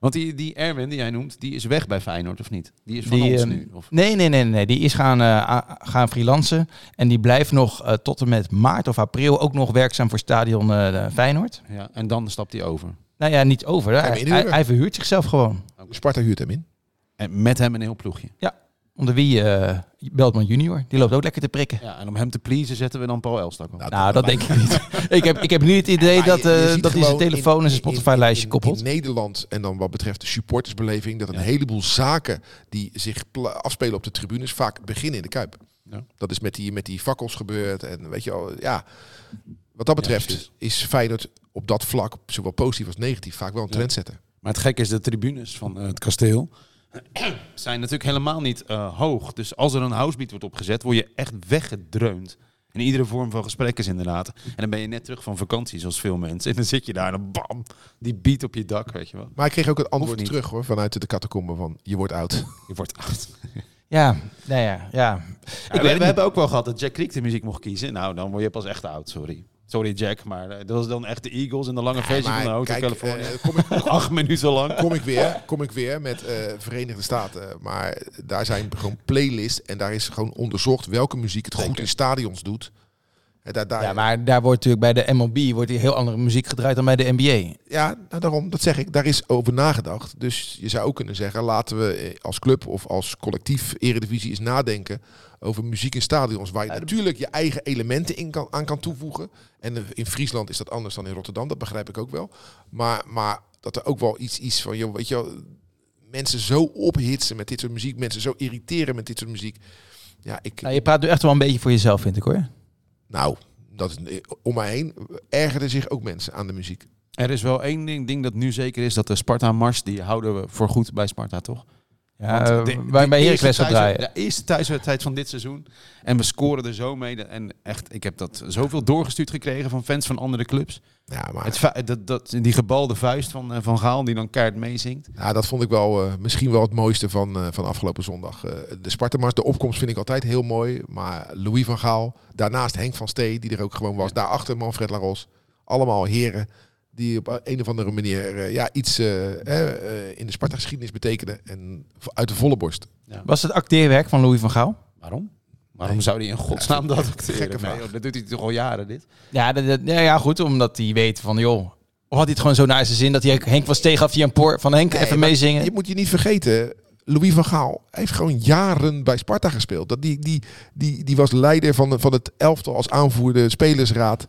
C: Want die, die Erwin die jij noemt, die is weg bij Feyenoord, of niet? Die is van
B: Die,
C: ons
B: ehm,
C: nu. Of?
B: Nee, nee, nee, nee, nee. Die is gaan, eh, a- gaan freelancen. En die blijft nog eh, tot en met maart of april ook nog werkzaam voor stadion eh, Feyenoord.
C: Ja, en dan stapt hij over.
B: Nou ja, niet over. Hij,
D: maar inhuren.
B: hij, hij verhuurt zichzelf gewoon.
D: Sparta huurt hem in.
C: En met hem een heel ploegje.
B: Ja. Onder wie eh Beltman junior. Die loopt ook lekker te prikken.
C: Ja, en om hem te pleasen zetten we dan Paul Elstak op.
B: Nou, dat denk ik niet. [laughs] ik, heb, ik heb nu het idee dat,
D: Maar je- je
B: eh
D: ziet
B: dat hij zijn
D: gewoon
B: telefoon
D: in-
B: en zijn
D: in- in-
B: Spotify-lijstje
D: in-
B: koppelt.
D: In Nederland en dan wat betreft de supportersbeleving, dat een heleboel zaken die zich pla- afspelen op de tribunes vaak beginnen in de Kuip.
C: Ja.
D: Dat is met die, met die fakkels gebeurd en weet je wel, ja. Wat dat betreft
C: precies.
D: is Feyenoord op dat vlak, zowel positief als negatief, vaak wel een
C: Ja.
D: trendsetter.
C: Maar het gekke is, de tribunes van eh, het kasteel [clears throat] zijn natuurlijk helemaal niet eh, hoog. Dus als er een housebeat wordt opgezet, word je echt weggedreund. In iedere vorm van gesprek is inderdaad. En dan ben je net terug van vakantie, zoals veel mensen. En dan zit je daar en dan bam, die beat op je dak, weet je wel.
D: Maar ik kreeg ook het antwoord
C: niet.
D: terug hoor, vanuit de catacombe van je wordt oud.
C: Je wordt [laughs] oud.
B: Ja, nou ja, ja.
C: Ja,
B: weet
C: we
B: het
C: we
B: niet.
C: hebben ook wel gehad dat Jack Creek de muziek mocht kiezen. Nou, dan word je pas echt oud, sorry. Sorry Jack, maar eh, dat was dan echt de Eagles en de lange versie van
D: Maar
C: de Hotel
D: kijk,
C: California.
D: eh, kom, ik,
C: Acht minuten lang.
D: kom ik weer, kom ik weer met eh, Verenigde Staten. Maar daar zijn gewoon playlists en daar is gewoon onderzocht welke muziek het goed in stadions doet. En daar, daar,
B: Ja, maar daar wordt natuurlijk bij de MLB wordt hier heel andere muziek gedraaid dan bij de NBA.
D: Ja, nou daarom, dat zeg ik. Daar is over nagedacht. Dus je zou ook kunnen zeggen, laten we eh, als club of als collectief Eredivisie eens nadenken over muziek in stadions. Waar je natuurlijk je eigen elementen in kan, aan kan toevoegen. En eh, in Friesland is dat anders dan in Rotterdam, dat begrijp ik ook wel. Maar, maar dat er ook wel iets is van, joh, weet je wel, mensen zo ophitsen met dit soort muziek. Mensen zo irriteren met dit soort muziek. Ja, ik...
B: Nou, je praat nu echt wel een beetje voor jezelf, vind ik hoor.
D: Nou, dat, is- eh, om mij heen ergerden zich ook mensen aan de muziek.
C: Er is wel één ding, ding dat nu zeker is, dat de Sparta-mars, die houden we voor goed bij Sparta, toch? Want
B: Ja,
C: de-
B: eh,
C: de
B: waar bij
C: eerste
B: Heracles gaat
C: thuiswed-
B: draaien.
C: De eerste thuiswedstrijd van dit seizoen. En we scoren er zo mee. En echt, ik heb dat zoveel doorgestuurd gekregen van fans van andere clubs.
D: Ja,
B: Ah.
D: maar...
C: Het fa- dat, dat, die gebalde vuist van, eh, van Gaal, die dan kaart meezingt.
D: Ja, dat vond ik wel eh, misschien wel het mooiste van, eh, van afgelopen zondag. Eh, de Spartamars, de opkomst vind ik altijd heel mooi. Maar Louis van Gaal, daarnaast Henk van Stee, die er ook gewoon was. Daarachter Manfred Laros. Allemaal heren die op een of andere manier eh, ja, iets eh, eh, eh, in de Sparta-geschiedenis betekenden. En v- uit de volle borst.
B: Was het acteerwerk van Louis van Gaal?
C: Waarom? Waarom zou die in godsnaam dat acteren?
D: gekke vraag.
C: Nee, joh, dat doet hij toch al jaren, dit?
B: Ja, dat- dat- ja, ja, goed, omdat hij weet van joh. Of had hij het gewoon zo naar zijn zin dat hij Henk was tegen gaf hij een poor van Henk
D: Nee,
B: even
D: maar
B: meezingen.
D: Je moet je niet vergeten, Louis van Gaal heeft gewoon jaren bij Sparta gespeeld. Dat die, die, die, die was leider van, de- van het elftal als aanvoerder, spelersraad.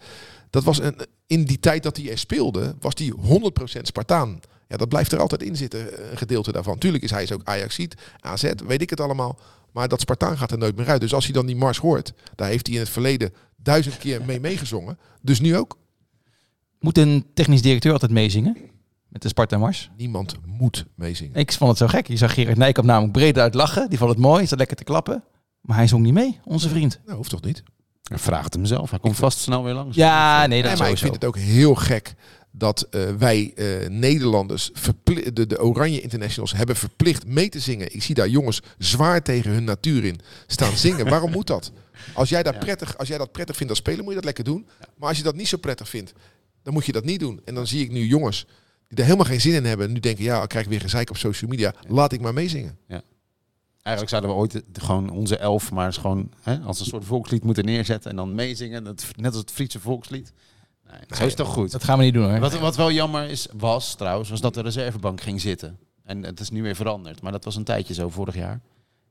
D: Dat was een, in die tijd dat hij er speelde, was hij 100% Spartaan. Ja, dat blijft er altijd in zitten, een gedeelte daarvan. Tuurlijk is hij is ook Ajaxiet, AZ, weet ik het allemaal. Maar dat Spartaan gaat er nooit meer uit. Dus als hij dan die mars hoort, daar heeft hij in het verleden duizend keer mee meegezongen. Dus nu ook.
B: Moet een technisch directeur altijd meezingen? Met de Sparta Mars.
D: Niemand moet meezingen.
B: Ik vond het zo gek. Je zag Gerard Nijkamp namelijk breed uit lachen. Die vond het mooi. Zat lekker te klappen. Maar hij zong niet mee, onze vriend.
D: Nou, hoeft toch niet?
C: Hij vraagt hem zelf. Hij komt vast snel weer langs.
B: Ja, nee, dat is
D: Nee, maar
B: sowieso.
D: ik vind het ook heel gek dat eh, wij eh, Nederlanders verpli- de, de Oranje Internationals hebben verplicht mee te zingen. Ik zie daar jongens zwaar tegen hun natuur in staan
B: [laughs]
D: zingen. Waarom moet dat? Als jij, daar prettig, als jij dat prettig vindt als speler, moet je dat lekker doen. Maar als je dat niet zo prettig vindt, dan moet je dat niet doen. En dan zie ik nu jongens die er helemaal geen zin in hebben. Nu denken, ja, ik krijg weer gezeik op social media. Laat ik maar meezingen.
C: Eigenlijk zouden we ooit het- gewoon onze elf maar eens gewoon hè, als een soort volkslied moeten neerzetten. En dan meezingen. Dat, net als het Friese volkslied. Nee, zo is het toch goed?
B: Dat gaan we niet doen hoor.
C: Wat, wat wel jammer is, was trouwens, was dat de reservebank ging zitten. En het is nu weer veranderd, maar dat was een tijdje zo vorig jaar.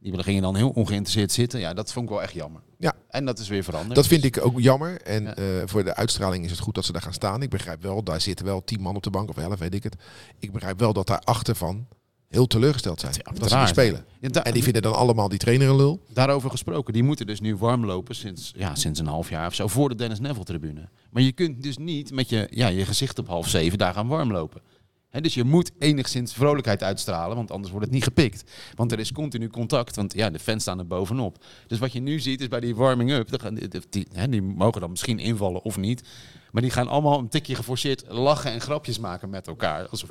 C: Die gingen dan heel ongeïnteresseerd zitten. Ja, dat vond ik wel echt jammer.
D: Ja.
C: En dat is weer veranderd.
D: Dat vind ik ook jammer. En
C: Ja.
D: eh, voor de uitstraling is het goed dat ze daar gaan staan. Ik begrijp wel, daar zitten wel tien man op de bank of elf, weet ik het. Ik begrijp wel dat daar achter van heel teleurgesteld zijn. dat ze niet
C: uiteraard.
D: spelen.
C: Ja, Oh. da-
D: En die vinden dan allemaal die trainer een lul.
C: Daarover gesproken, die moeten dus nu warm lopen sinds, ja, sinds een half jaar of zo voor de Dennis Neville-tribune. Maar je kunt dus niet met je, ja, je gezicht op half zeven daar gaan warm lopen. Hè, dus je moet enigszins vrolijkheid uitstralen, want anders wordt het niet gepikt. Want er is continu contact, want ja, de fans staan er bovenop. Dus wat je nu ziet is bij die warming-up, dan gaan die, die, die- hè, die mogen dan misschien invallen of niet. Maar die gaan allemaal een tikje geforceerd lachen en grapjes maken met elkaar. Alsof,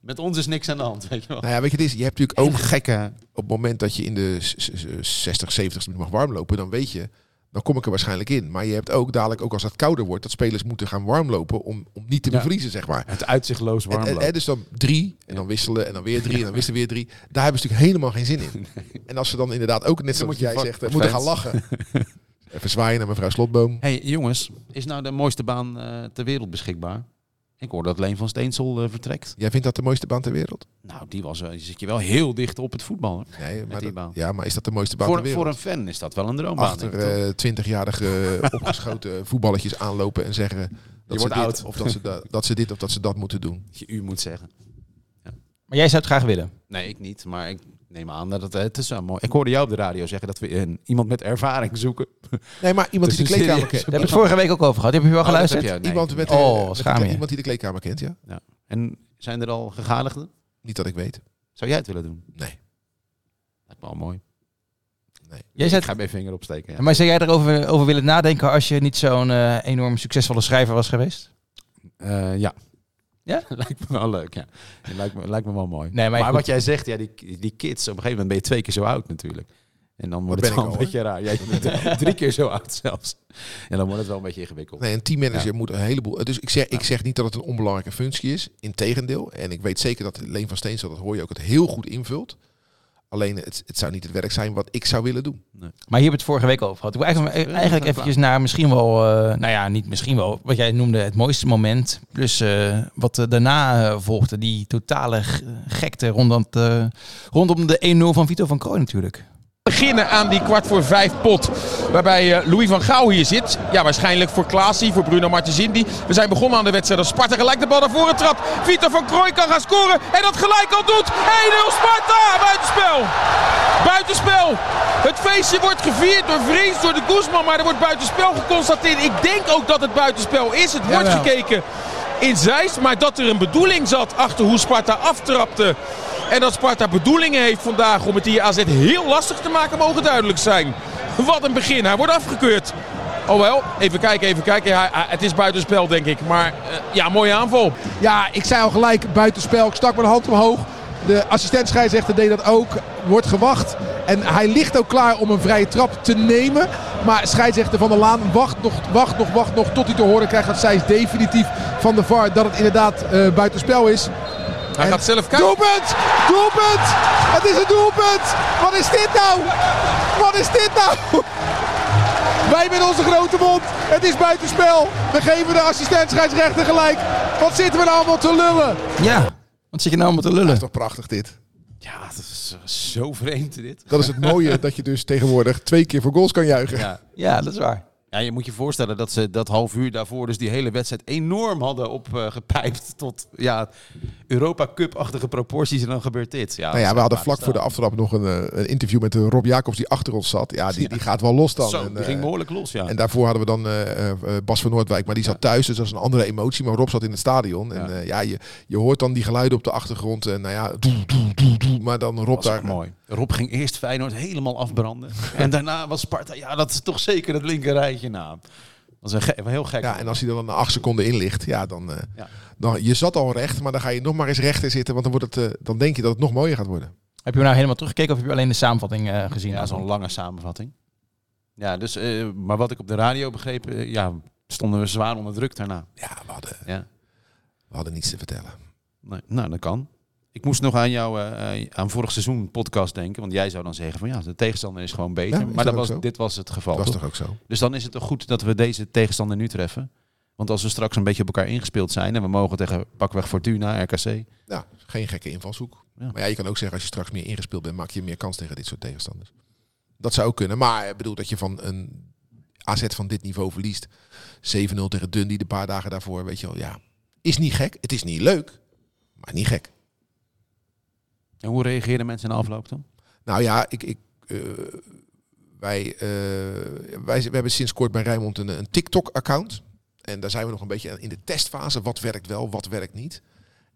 C: met ons is niks aan de hand, weet je wel.
D: Nou ja, weet je, het is, je hebt natuurlijk ook
C: gekke...
D: op het moment dat je in de s- s- 60, 70 minuut mag warmlopen, dan weet je, dan kom ik er waarschijnlijk in. Maar je hebt ook dadelijk, ook als het kouder wordt, dat spelers moeten gaan warmlopen om, om niet te
C: Ja.
D: bevriezen, zeg maar.
C: Het uitzichtloos
D: En- En,
C: warmlopen.
D: en dus dan drie, en dan wisselen, en dan weer drie, en dan wisselen weer drie. Daar hebben ze natuurlijk helemaal geen zin
C: [laughs]
D: in. En als ze dan inderdaad ook, net zoals
C: moet je
D: jij
C: vak-
D: zegt, eh, moeten gaan
C: [laughs]
D: lachen. Even zwaaien naar mevrouw Slotboom.
C: Hey jongens, is nou de mooiste baan eh, ter wereld beschikbaar? Ik hoor dat Leen van Steensel eh, vertrekt.
D: Jij vindt dat de mooiste baan ter wereld?
C: Nou, die was, eh, die zit je wel heel dicht op het voetbal. hoor.
D: Nee, maar
C: die
D: dat-
C: baan.
D: ja, maar is dat de mooiste baan ter
C: Voor,
D: wereld?
C: voor een fan is dat wel een droombaan. denk ik, toch?
D: Achter eh,
C: [laughs]
D: twintigjarige opgeschoten voetballetjes aanlopen en zeggen dat, ze
C: wordt
D: dit,
C: oud.
D: Of dat, ze da- dat ze dit of dat ze dat moeten doen.
C: Dat je u moet zeggen.
B: Maar jij zou het graag willen.
C: Nee, ik niet. Maar ik neem aan dat het, het is wel mooi. Ik hoorde jou op de radio zeggen dat we een, iemand met ervaring
D: [laughs]
C: zoeken.
D: Nee, maar iemand
C: Dus
D: die de
C: een
D: kleedkamer
C: serieus-
D: kent.
B: Daar heb ik het vorige week ook over gehad. Heb je wel
C: Oh, dat heb
B: geluisterd?
C: je. Nee.
D: Iemand met,
B: Oh,
D: eh, met
B: schaam je.
D: iemand die de kleedkamer kent, ja?
C: En zijn er al gegadigden?
D: Niet dat ik weet.
C: Zou jij het willen doen?
D: Nee.
C: Lijkt me al mooi.
B: Jij zei
C: Ik ga mijn vinger opsteken. ja.
B: Maar zou jij erover over willen nadenken als je niet zo'n eh, enorm succesvolle schrijver was geweest?
C: Eh, ja.
B: Ja?
C: [laughs] lijkt me wel leuk, ja. Ja, Lijkt me, lijkt me wel mooi.
B: Nee, maar
C: maar
B: goed.
C: wat jij zegt, ja, die, die kids, op een gegeven moment ben je twee keer zo oud natuurlijk. En dan wordt
D: Dat
C: het wel
D: ben ik
C: een
D: al,
C: beetje raar. Jij [laughs] bent drie keer zo oud zelfs. En dan wordt het wel een beetje ingewikkeld.
D: Nee, een teammanager moet een heleboel. Dus ik zeg, ik zeg niet dat het een onbelangrijke functie is. Integendeel. En ik weet zeker dat Leen van Steensel, dat hoor je ook, het heel goed invult. Alleen het, het zou niet het werk zijn wat ik zou willen doen.
B: Maar hier hebben we het vorige week over gehad. Ik wil eigenlijk, eigenlijk eventjes naar misschien wel, eh, nou ja, niet misschien wel, wat jij noemde het mooiste moment. Plus eh, wat eh, daarna eh, volgde, die totale g- gekte rondom, het, eh, rondom de 1-0 van Vito van Krooi natuurlijk.
E: beginnen aan die kwart voor vijf pot. Waarbij eh, Louis van Gaal hier zit. Ja, waarschijnlijk voor Klaasie, voor Bruno Martensindi. We zijn begonnen aan de wedstrijd als Sparta gelijk de bal naar voren trapt. Vito van Krooi kan gaan scoren en dat gelijk al doet. 1-0 Sparta! Buitenspel! Buitenspel! Het feestje wordt gevierd door Vries, door de Guzman, maar er wordt buitenspel geconstateerd. Ik denk ook dat het buitenspel is. Het wordt gekeken in Zeist, maar dat er een bedoeling zat achter hoe Sparta aftrapte. En dat Sparta bedoelingen heeft vandaag om het hier AZ heel lastig te maken, mogen duidelijk zijn. Wat een begin, hij wordt afgekeurd. Oh wel, even kijken, even kijken. Ja, hij- het is buitenspel denk ik, maar eh, ja, mooie aanval.
F: Ja, ik zei al gelijk buitenspel. Ik stak mijn hand omhoog. De assistent scheidsrechter deed dat ook. Wordt gewacht. En hij ligt ook klaar om een vrije trap te nemen. Maar scheidsrechter Van der Laan wacht nog, wacht nog, wacht nog. Tot hij te horen krijgt dat zij is definitief van de VAR. Dat het inderdaad eh, buitenspel is.
E: Hij
F: En-
E: gaat zelf kijken.
F: Doelpunt! Doelpunt! Het is een doelpunt! Wat is dit nou? Wat is dit nou? Wij met onze grote mond. Het is buitenspel. We geven de assistent scheidsrechter gelijk. Wat zitten we nou allemaal te lullen?
B: Ja, wat zit je nou allemaal te lullen?
D: Dat is toch prachtig dit?
C: Ja, dat is eh, zo vreemd dit.
D: Dat is het mooie dat je dus tegenwoordig twee keer voor goals kan juichen.
C: Ja.
B: Ja, dat is waar.
C: ja, je moet je voorstellen dat ze dat half uur daarvoor dus die hele wedstrijd enorm hadden opgepijpt tot ja, Europa Cup-achtige proporties en dan gebeurt dit. Ja,
D: Nou
C: dat
D: ja,
C: is
D: we hadden
C: echt
D: vlak voor de aftrap nog een, eh, een interview met eh, Rob Jacobs die achter ons zat. Ja, die, die gaat wel los dan.
C: Zo,
D: En,
C: die
D: eh,
C: ging behoorlijk los, ja.
D: en daarvoor hadden we dan eh, eh, Bas van Noordwijk, maar die zat thuis, dus dat is een andere emotie. Maar Rob zat in het stadion en
C: Ja.
D: eh, ja, je, je hoort dan die geluiden op de achtergrond. En nou ja, doe, doe, doe, doe, maar dan Rob
C: Dat was
D: daar.
C: ook mooi. Rob ging eerst Feyenoord helemaal afbranden. En daarna was Sparta, ja, dat is toch zeker het linker rijtje na. Dat is een, ge- een heel gek.
D: Ja, en als hij er dan na acht seconden in ligt, ja, dan, eh,
C: Ja.
D: dan... Je zat al recht, maar dan ga je nog maar eens rechter zitten, want dan, wordt het, eh, dan denk je dat het nog mooier gaat worden.
B: Heb je hem nou helemaal teruggekeken of heb je alleen de samenvatting eh, gezien?
C: ja, zo'n lange samenvatting. Ja, dus, eh, maar wat ik op de radio begreep, eh, ja, stonden we zwaar onder druk daarna.
D: Ja, we hadden,
C: Ja.
D: we hadden niets te vertellen.
C: Nee, nou, dat kan. Ik moest nog aan jou, eh, eh, aan vorig seizoen podcast denken. Want jij zou dan zeggen van ja, de tegenstander is gewoon beter.
D: Ja, is
C: maar
D: dat
C: dat
D: ook
C: was,
D: zo?
C: dit was het geval.
D: Dat was
C: toch?
D: toch ook zo?
C: Dus dan is het toch goed dat we deze tegenstander nu treffen. Want als we straks een beetje op elkaar ingespeeld zijn en we mogen tegen pakweg Fortuna, RKC,
D: Nou, geen gekke invalshoek.
C: Ja.
D: Maar ja, je kan ook zeggen, als je straks meer ingespeeld bent, maak je meer kans tegen dit soort tegenstanders. Dat zou ook kunnen. Maar ik bedoel dat je van een AZ van dit niveau verliest. 7-0 tegen Dundee de paar dagen daarvoor, weet je wel. Ja, is niet gek. Het is niet leuk, maar niet gek.
C: En hoe reageerden mensen in de afloop dan?
D: Nou ja, ik, ik, eh, wij, eh, wij, we hebben sinds kort bij Rijnmond een, een TikTok-account. En daar zijn we nog een beetje in de testfase. Wat werkt wel, wat werkt niet.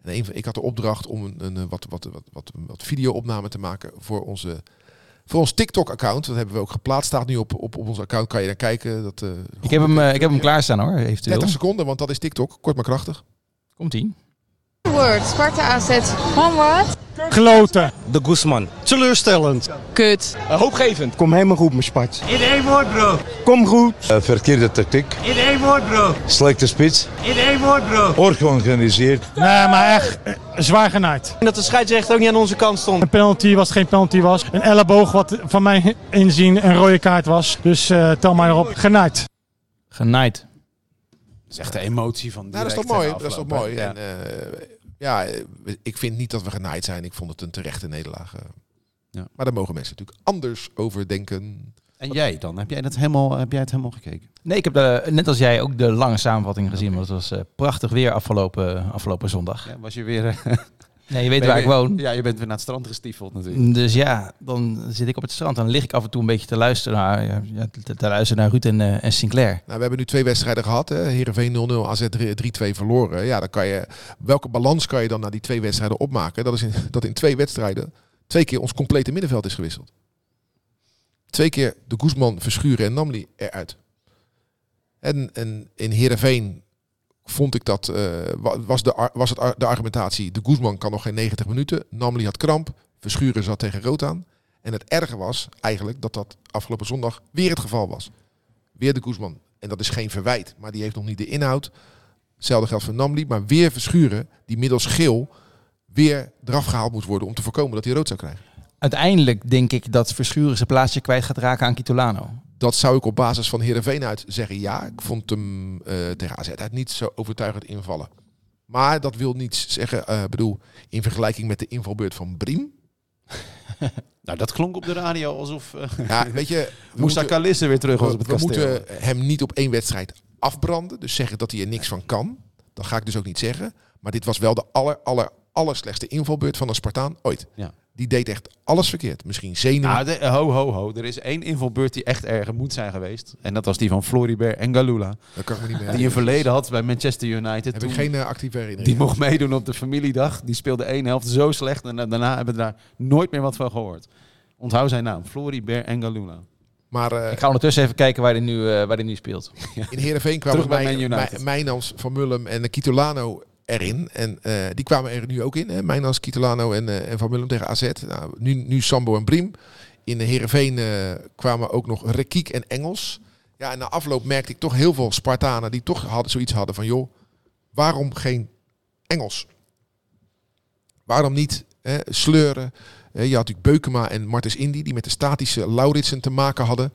D: En een van- ik had de opdracht om een, een eh, wat, wat, wat, wat, wat video-opname te maken voor onze... Voor ons TikTok-account, dat hebben we ook geplaatst, staat nu op, op, op ons account, kan je daar kijken. Dat, eh,
B: Ik heb hem, eh, ik heb hem klaarstaan hoor, eventueel.
D: 30 seconden, want dat is TikTok, kort maar krachtig.
B: Komt-ie.
G: Word, Sparta AZ. Onward.
H: Kloten. De Guzman. Teleurstellend.
G: Kut.
E: Hoopgevend.
H: Kom helemaal goed, mijn Spart. In één woord, bro. Kom goed.
I: Eh, verkeerde tactiek. In één woord, bro. Slechte spits. In één woord, bro. Ongeorganiseerd.
J: Nee, maar echt eh, zwaar genaaid.
E: En dat de scheidsrechter ook niet aan onze kant stond.
J: Een penalty was geen penalty was. Een elleboog wat van mijn inzien een rode kaart was. Dus eh, tel maar erop. Genaaid.
B: Genaaid.
C: Dat is echt de emotie van
D: Nou, dat is toch
C: direct
D: mooi?
C: na
D: Dat is toch
C: afloop, hè?
D: mooi?
C: Ja.
D: En, eh, ja, eh, ik vind niet dat we genaaid zijn. Ik vond het een terechte nederlaag. eh.
C: Ja.
D: Maar daar mogen mensen natuurlijk anders over denken.
C: En jij dan? Heb jij, dat helemaal, heb jij het helemaal gekeken?
B: Nee, ik heb de, net als jij ook de lange samenvatting gezien. Want het was eh, prachtig weer afgelopen, afgelopen zondag.
C: Ja, was je weer... eh,
B: Nee, je weet
C: ben
B: waar
C: je-
B: ik woon.
C: Ja, je bent weer naar het strand gestiefeld natuurlijk.
B: Dus ja, dan zit ik op het strand. Dan lig ik af en toe een beetje te luisteren naar, ja, ja, te, te luisteren naar Ruud en, eh, en Sinclair.
D: Nou, we hebben nu twee wedstrijden gehad. Hè. Heerenveen 0-0, AZ 3-2 verloren. Ja, dan kan je, welke balans kan je dan na die twee wedstrijden opmaken? Dat is in, dat in twee wedstrijden twee keer ons complete middenveld is gewisseld. Twee keer de Guzman, Verschuren en Namli eruit. En, en in Heerenveen vond ik dat, eh, wa- was, de, ar- was het ar- de argumentatie, de Guzman kan nog geen 90 minuten. Namli had kramp, Verschuren zat tegen rood aan. En het erge was eigenlijk dat dat afgelopen zondag weer het geval was weer de Guzman. En dat is geen verwijt, maar die heeft nog niet de inhoud. Hetzelfde geldt voor Namli, maar weer Verschuren, die middels geel weer eraf gehaald moet worden om te voorkomen dat hij rood zou krijgen.
B: Uiteindelijk denk ik dat Verschuren zijn plaatsje kwijt gaat raken aan Kitolano.
D: Dat zou ik op basis van Heerenveen uit zeggen ja. Ik vond hem eh tegen AZ uit niet zo overtuigend invallen. Maar dat wil niets zeggen, eh bedoel, in vergelijking met de invalbeurt van Briem.
C: Nou, dat klonk op de radio alsof... eh
D: Ja, weet je, we
C: Moussa
D: moeten-
C: Kalisse weer terug was op
D: we,
C: het
D: we
C: kasteel.
D: moeten hem niet op één wedstrijd afbranden. Dus zeggen dat hij er niks van kan. Dat ga ik dus ook niet zeggen. Maar dit was wel de aller, aller, aller slechtste invalbeurt van een Spartaan ooit.
C: Ja.
D: Die deed echt alles verkeerd. Misschien zenuwen.
C: Nou, de- ho, ho, ho. Er is één invalbeurt die echt erger moet zijn geweest. En dat was die van Floribert en Galula.
D: dat kan ik me niet meer
C: Die je verleden had bij Manchester United.
D: Heb
C: Toen-
D: ik geen eh, actieve herinnering.
C: Die mocht meedoen op de familiedag. Die speelde één helft zo slecht. En da- daarna hebben we daar nooit meer wat van gehoord. Onthoud zijn naam. Floribert en Galula.
D: Maar eh,
B: Ik ga ondertussen even kijken waar hij nu, eh, waar hij nu speelt.
D: in Heerenveen kwamen
C: Terug bij
D: mijn,
C: Man United.
D: mijn, Mijnans, Van Mullum en eh, Kitolano erin. En eh, die kwamen er nu ook in. Hè? Mijnans, Kitolano en, eh, en Van Mullum tegen AZ. Nou, nu, nu Sambo en Briem. In de Heerenveen eh, kwamen ook nog Rekiek en Engels. Ja, en na afloop merkte ik toch heel veel Spartanen die toch hadden, zoiets hadden van... joh, waarom geen Engels? Waarom niet hè, sleuren? Eh, je had natuurlijk Beukema en Martens Indy... die met de statische Lauritsen te maken hadden.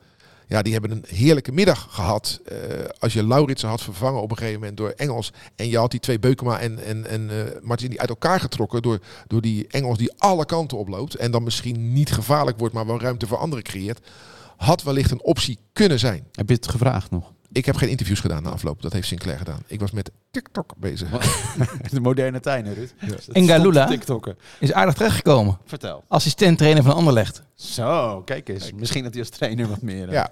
D: Ja, die hebben een heerlijke middag gehad. Eh, als je Lauritsen had vervangen op een gegeven moment door Engels... en je had die twee Beukema en, en, en eh, Martens Indy uit elkaar getrokken... Door, door die Engels die alle kanten oploopt... en dan misschien niet gevaarlijk wordt... maar wel ruimte voor anderen creëert... had wellicht een optie kunnen zijn.
C: Heb je het gevraagd nog?
D: Ik heb geen interviews gedaan na afloop. Dat heeft Sinclair gedaan. Ik was met TikTok bezig.
C: [laughs] De moderne tijnen, Ruud. Dus dat
B: En
C: stond
B: Galula?
C: op TikTokken.
B: Is aardig terechtgekomen.
C: Vertel.
B: Assistent trainer van Anderlecht.
C: Zo, kijk eens. Misschien dat hij als trainer wat meer... eh,
D: Ja.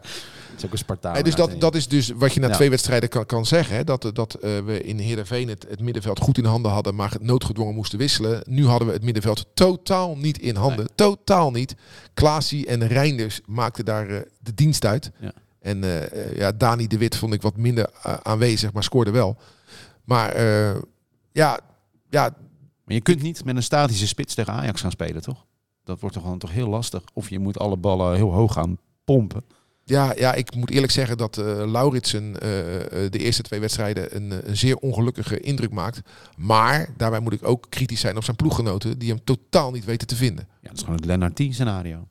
C: is ook een Spartaan.
D: Hey, dus dat,
C: uiteen.
D: dat is dus wat je na
C: Ja.
D: twee wedstrijden kan, kan zeggen. Hè? Dat, dat eh, we in Heerenveen het, het middenveld goed in handen hadden, maar noodgedwongen moesten wisselen. Nu hadden we het middenveld totaal niet in handen. Totaal niet. Klaasie en Reinders maakten daar eh, de dienst uit.
C: Ja.
D: En eh, eh, ja, Dani de Wit vond ik wat minder eh, aanwezig, maar scoorde wel. Maar eh, ja, ja,
C: Maar je kunt niet met een statische spits tegen Ajax gaan spelen, toch? Dat wordt toch gewoon toch heel lastig. Of je moet alle ballen heel hoog gaan pompen.
D: Ja, ja, ik moet eerlijk zeggen dat eh Lauritsen eh, eh, de eerste twee wedstrijden een, eh, een zeer ongelukkige indruk maakt. Maar daarbij moet ik ook kritisch zijn op zijn ploeggenoten die hem totaal niet weten te vinden.
C: Ja, dat is gewoon het Lennart T scenario.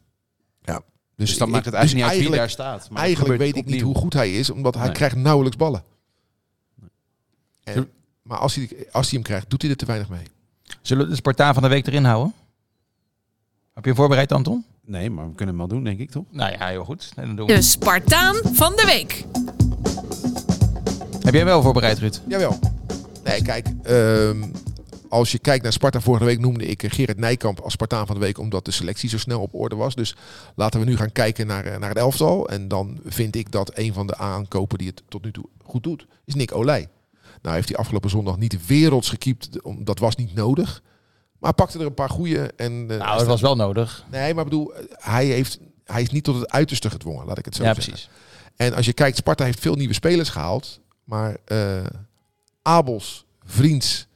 D: Dus,
C: Dus dan
D: ik-
C: maakt het
D: dus
C: eigenlijk niet uit wie daar
D: eigenlijk-
C: staat. Maar
D: Eigenlijk weet ik niet hoe goed hij is, omdat hij
C: Nee.
D: krijgt nauwelijks ballen. En, maar als hij, als hij hem krijgt, doet hij er te weinig mee.
B: Zullen we de Spartaan van de week erin houden? Heb je hem voorbereid, Anton?
C: Nee, maar we kunnen hem wel doen, denk ik, toch?
B: Nou ja, heel goed. Nee, dan doen we
K: De
B: hem.
K: Spartaan van de week.
B: Heb jij hem wel voorbereid, Ruud?
D: Jawel. Nee, kijk. ehm, als je kijkt naar Sparta, vorige week noemde ik eh, Gerrit Nijkamp als Spartaan van de week, omdat de selectie zo snel op orde was. Dus laten we nu gaan kijken naar, eh, naar het elftal. En dan vind ik dat een van de aankopen die het tot nu toe goed doet, is Nick Olij. Nou heeft hij afgelopen zondag niet werelds gekiept, om- dat was niet nodig. Maar hij pakte er een paar goede. En,
B: Nou,
D: eh, hij
B: dat
D: staat-
B: was wel nodig.
D: Nee, maar ik bedoel, eh, hij, heeft, hij is niet tot het uiterste gedwongen, laat ik het zo
B: Ja,
D: zeggen.
B: precies.
D: En als je kijkt, Sparta heeft veel nieuwe spelers gehaald. Maar eh, Abels, Vriends,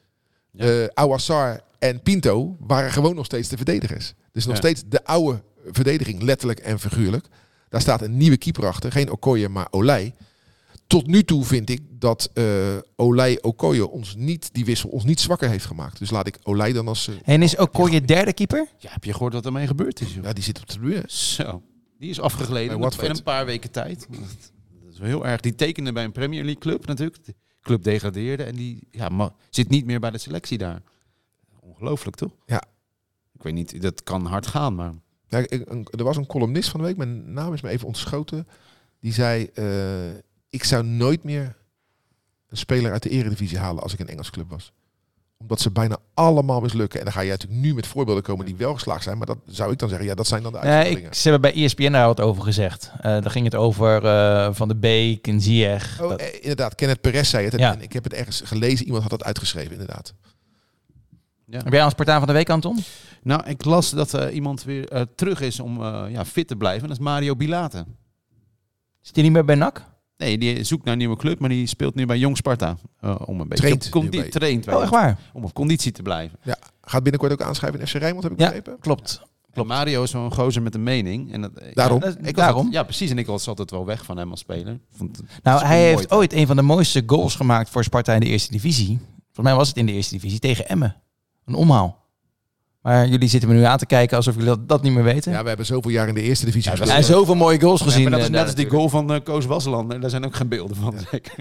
C: Ja.
D: eh Awassar en Pinto waren gewoon nog steeds de verdedigers. Dus nog
C: Ja.
D: steeds de oude verdediging, letterlijk en figuurlijk. Daar staat een nieuwe keeper achter. Geen Okoye, maar Olij. Tot nu toe vind ik dat eh Olij Okoye ons niet, die wissel ons niet zwakker heeft gemaakt. Dus laat ik Olij dan als... eh,
B: En is Okoye derde keeper?
C: Ja, heb je gehoord wat ermee gebeurd is? joh?
D: ja, die zit op de tribune.
C: Zo. Die is
D: Bij
C: afgegleden in
D: Watford.
C: een paar weken tijd. Dat is wel heel erg. Die tekende bij een Premier League club natuurlijk. club degradeerde. En die ja, ma- zit niet meer bij de selectie daar. Ongelooflijk, toch?
D: Ja.
C: Ik weet niet, dat kan hard gaan, maar...
D: Ja, ik- een- er was een columnist van de week, mijn naam is me even ontschoten. Die zei, eh, ik zou nooit meer een speler uit de eredivisie halen als ik een Engels club was. Omdat ze bijna allemaal mislukken. En dan ga je natuurlijk nu met voorbeelden komen die wel geslaagd zijn. Maar dat zou ik dan zeggen, ja, dat zijn dan de
B: Nee,
D: uitzonderingen.
B: ik, ze hebben bij E ESPN daar wat over gezegd. Eh, daar ging het over eh, Van de Beek en Ziyech. [laughs]
D: Oh,
B: Dat-
D: eh, inderdaad, Kenneth Perez zei het. En,
B: Ja.
D: en ik heb het ergens gelezen, iemand had dat uitgeschreven, inderdaad.
B: Heb jij een Spartaan van de Week, Anton?
C: Nou, ik las dat eh, iemand weer eh, terug is om eh, ja, fit te blijven. En dat is Mario Bilate.
B: Zit hij niet meer bij NAC?
C: Nee, die zoekt naar een nieuwe club, maar die speelt nu bij Jong Sparta. eh, om een beetje
D: Traint
C: op condi-
D: nu bij-
C: traint bij
B: Oh, echt waar?
C: Om op conditie te blijven.
D: Ja, gaat binnenkort ook aanschrijven in FC Rijnmond, heb ik
B: Ja,
D: begrepen.
B: klopt.
C: En Mario is zo'n gozer met een mening. En dat, eh,
D: Daarom.
C: ja, dat-
B: Dat-
C: ik
B: daarom.
C: had- ja, precies. En ik was altijd wel weg van hem als speler. Vond het- het
B: Nou,
C: is
B: hij
C: mooi
B: heeft ooit een van de mooiste goals gemaakt voor Sparta in de eerste divisie. Volgens mij was het in de eerste divisie tegen Emmen. Een omhaal. Maar jullie zitten me nu aan te kijken alsof jullie dat, dat niet meer weten.
D: Ja, we hebben zoveel jaar in de eerste divisie
C: Ja, dat
D: gespeeld.
B: en zoveel mooie goals
C: Ja, maar
B: gezien.
C: dat is
B: eh,
C: net
B: daar
C: als die
B: natuurlijk.
C: goal van eh, Koos Wasselaar. Daar zijn ook geen beelden van, zeker.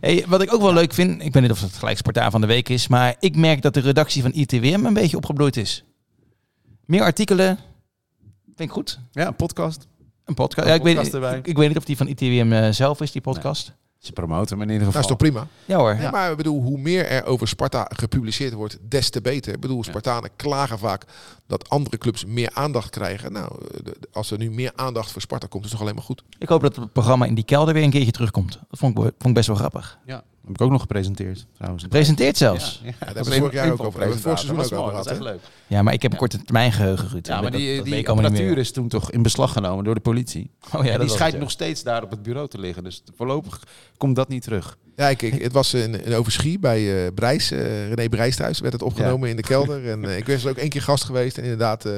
B: Hey, wat ik ook wel leuk vind, ik weet niet of het gelijk Spartaan van de Week is, maar ik merk dat de redactie van ITWM een beetje opgebloeid is. Meer artikelen, vind ik goed.
C: Ja, een podcast.
B: Een podcast. Ja, ik, weet,
C: podcast erbij.
B: ik, ik weet niet of die van ITWM eh, zelf is, die podcast.
C: Ze promoten hem in ieder
D: Dat
C: geval.
D: Nou, is toch prima?
B: Ja hoor.
D: Nee, maar ik bedoel, hoe meer er over Sparta gepubliceerd wordt, des te beter. Ik bedoel, Spartanen klagen vaak dat andere clubs meer aandacht krijgen. Nou, eh, de- de- als er nu meer aandacht voor Sparta komt, is het toch alleen maar goed.
B: Ik hoop dat het programma in die kelder weer een keertje terugkomt. Dat vond ik, wel- vond ik best wel grappig.
C: Ja, dat heb ik ook nog gepresenteerd trouwens.
B: Presenteert zelfs.
C: Ja,
D: Ja, daar hebben we vorig jaar ook over gehad. Vorig seizoen
C: Dat was
D: ook
C: mooi,
D: over
C: dat
D: gehad.
C: is echt
D: hè?
C: leuk.
B: Ja, maar ik heb een korte termijn geheugen, Ruud.
C: Ja, maar
B: Dat-
C: die,
B: dat weet
C: die
B: ik allemaal niet
C: apparatuur
B: meer.
C: is toen toch in beslag genomen door de politie.
B: Oh ja,
C: en
B: dat
C: die
B: was
C: schijnt
B: het, ja.
C: nog steeds daar op het bureau te liggen. Dus voorlopig komt dat niet terug.
D: Ja, ik, ik- [laughs] het was in, in Overschie bij eh Brijs, eh, René Brijs thuis, werd het opgenomen in de kelder. En eh, ik was er ook één keer gast geweest. En inderdaad, eh,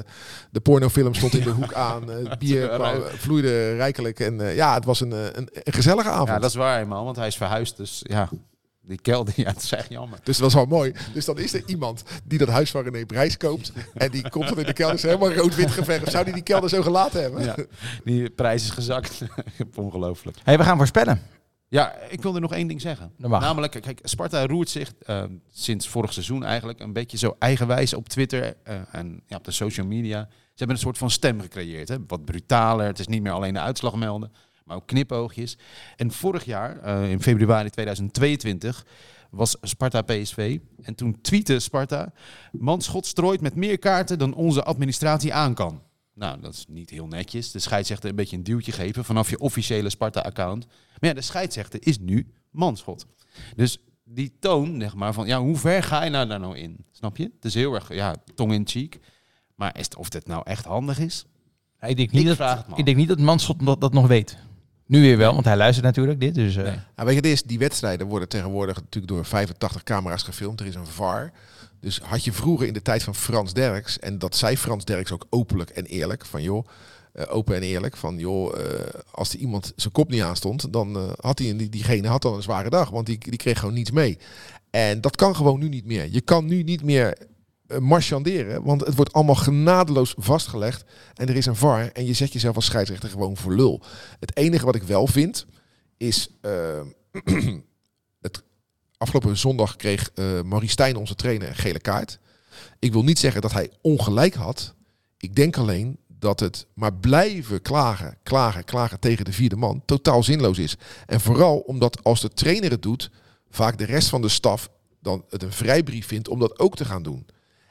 D: de pornofilm stond in de hoek aan. eh, het bier kwam- vloeide rijkelijk. En eh, ja, het was een, eh, een, een gezellige avond.
C: Ja, dat is waar, man. Want hij is verhuisd. Dus ja, die kelder, [laughs] ja, dat is echt jammer.
D: Dus dat is wel mooi. Dus dan is er iemand die dat huis van René Brijs koopt. En die komt dan in de kelder. Is helemaal rood-wit geverfd. Zou die die kelder zo gelaten hebben?
C: Ja, die prijs is gezakt. [laughs] Ongelooflijk.
B: hey, we gaan voorspellen.
C: Ja, ik wilde nog één ding zeggen.
B: Dat mag.
C: Namelijk, kijk, Sparta roert zich eh, sinds vorig seizoen eigenlijk een beetje zo eigenwijs op Twitter eh, en ja, op de social media. Ze hebben een soort van stem gecreëerd. Hè? Wat brutaler. Het is niet meer alleen de uitslag melden, maar ook knipoogjes. En vorig jaar, eh, in februari 2022, was Sparta PSV. En toen tweette Sparta: Manschot strooit met meer kaarten dan onze administratie aan kan. Nou, dat is niet heel netjes. De scheidsrechter een beetje een duwtje geven vanaf je officiële Sparta-account. Maar ja, de scheidsrechter is nu manschot. Dus die toon, zeg maar, van ja, hoe ver ga je nou daar nou in? Snap je? Het is heel erg, ja, tong in cheek. Maar is het, of dit nou echt handig is?
B: Ja, ik, denk
C: Ik
B: niet dat,
C: vraag het me
B: ik denk niet dat Manschot dat, dat nog weet. Nu weer wel, want hij luistert natuurlijk dit. Dus, eh,
C: Nee.
D: Nou, weet je, het is, die wedstrijden worden tegenwoordig natuurlijk door 85 camera's gefilmd. Er is een VAR. Dus had je vroeger in de tijd van Frans Derks, en dat zei Frans Derks ook openlijk en eerlijk, van joh, eh, open en eerlijk, van joh, eh, als er iemand zijn kop niet aanstond, dan eh, had die, die, diegene had dan een zware dag, want die, die kreeg gewoon niets mee. En dat kan gewoon nu niet meer. Je kan nu niet meer eh, marchanderen, want het wordt allemaal genadeloos vastgelegd en er is een VAR en je zet jezelf als scheidsrechter gewoon voor lul. Het enige wat ik wel vind, is eh, [clears throat] het afgelopen zondag kreeg eh Marie Stijn, onze trainer, een gele kaart. Ik wil niet zeggen dat hij ongelijk had. Ik denk alleen dat het maar blijven klagen, klagen, klagen tegen de vierde man totaal zinloos is. En vooral omdat als de trainer het doet, vaak de rest van de staf dan het een vrijbrief vindt om dat ook te gaan doen.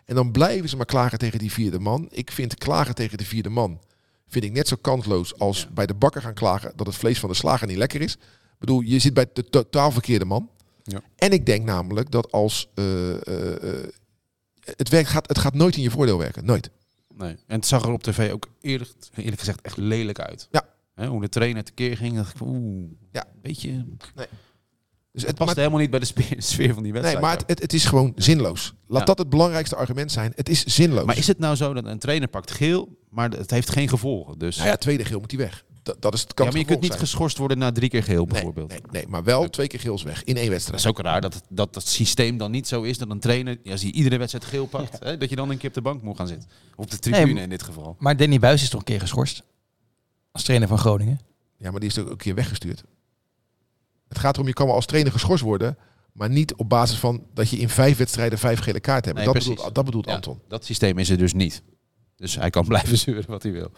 D: En dan blijven ze maar klagen tegen die vierde man. Ik vind klagen tegen de vierde man vind ik net zo kansloos als bij de bakker gaan klagen dat het vlees van de slager niet lekker is. Ik bedoel, je zit bij de totaal verkeerde man.
C: Ja.
D: En ik denk namelijk dat als eh, eh, eh, het werkt, gaat, het gaat nooit in je voordeel werken. Nooit.
C: Nee. En het zag er op tv ook eerlijk, eerlijk gezegd echt lelijk uit.
D: Ja.
C: Hè, hoe de trainer tekeer ging, dacht ik van oeh,
D: Ja.
C: een beetje...
D: Dus
C: Het
D: het,
C: past
D: maar,
C: helemaal niet bij de spe- [laughs] sfeer van die wedstrijd.
D: nee, maar het,
C: ook.
D: het, het is gewoon zinloos. Laat
C: Ja.
D: dat het belangrijkste argument zijn. Het is zinloos.
C: maar is het nou zo dat een trainer pakt geel, maar het heeft geen gevolgen? Dus...
D: Nou ja, tweede geel moet die weg. Dat, dat is het
C: Ja,
D: kan
C: maar je
D: het
C: kunt niet
D: gevolg
C: geschorst worden na drie keer geel,
D: zijn.
C: bijvoorbeeld.
D: Nee, nee, nee, maar wel twee keer geels weg in één
C: Dat
D: wedstrijd.
C: is ook raar dat het, dat het systeem dan niet zo is dat een trainer, ja, als hij iedere wedstrijd geel pakt, hè, dat je dan een keer op de bank moet gaan zitten. Of op de tribune
B: maar-
C: in dit geval.
B: maar Danny Buis is toch een keer geschorst? Als trainer van Groningen.
D: Ja, maar die is ook een keer weggestuurd. Het gaat erom, je kan wel als trainer geschorst worden. Maar niet op basis van dat je in vijf wedstrijden vijf gele kaarten hebt.
C: Nee,
D: dat,
C: precies.
D: bedoelt, dat bedoelt
C: Ja,
D: Anton.
C: Dat systeem is er dus niet. Dus hij kan [laughs] blijven zuren wat hij wil.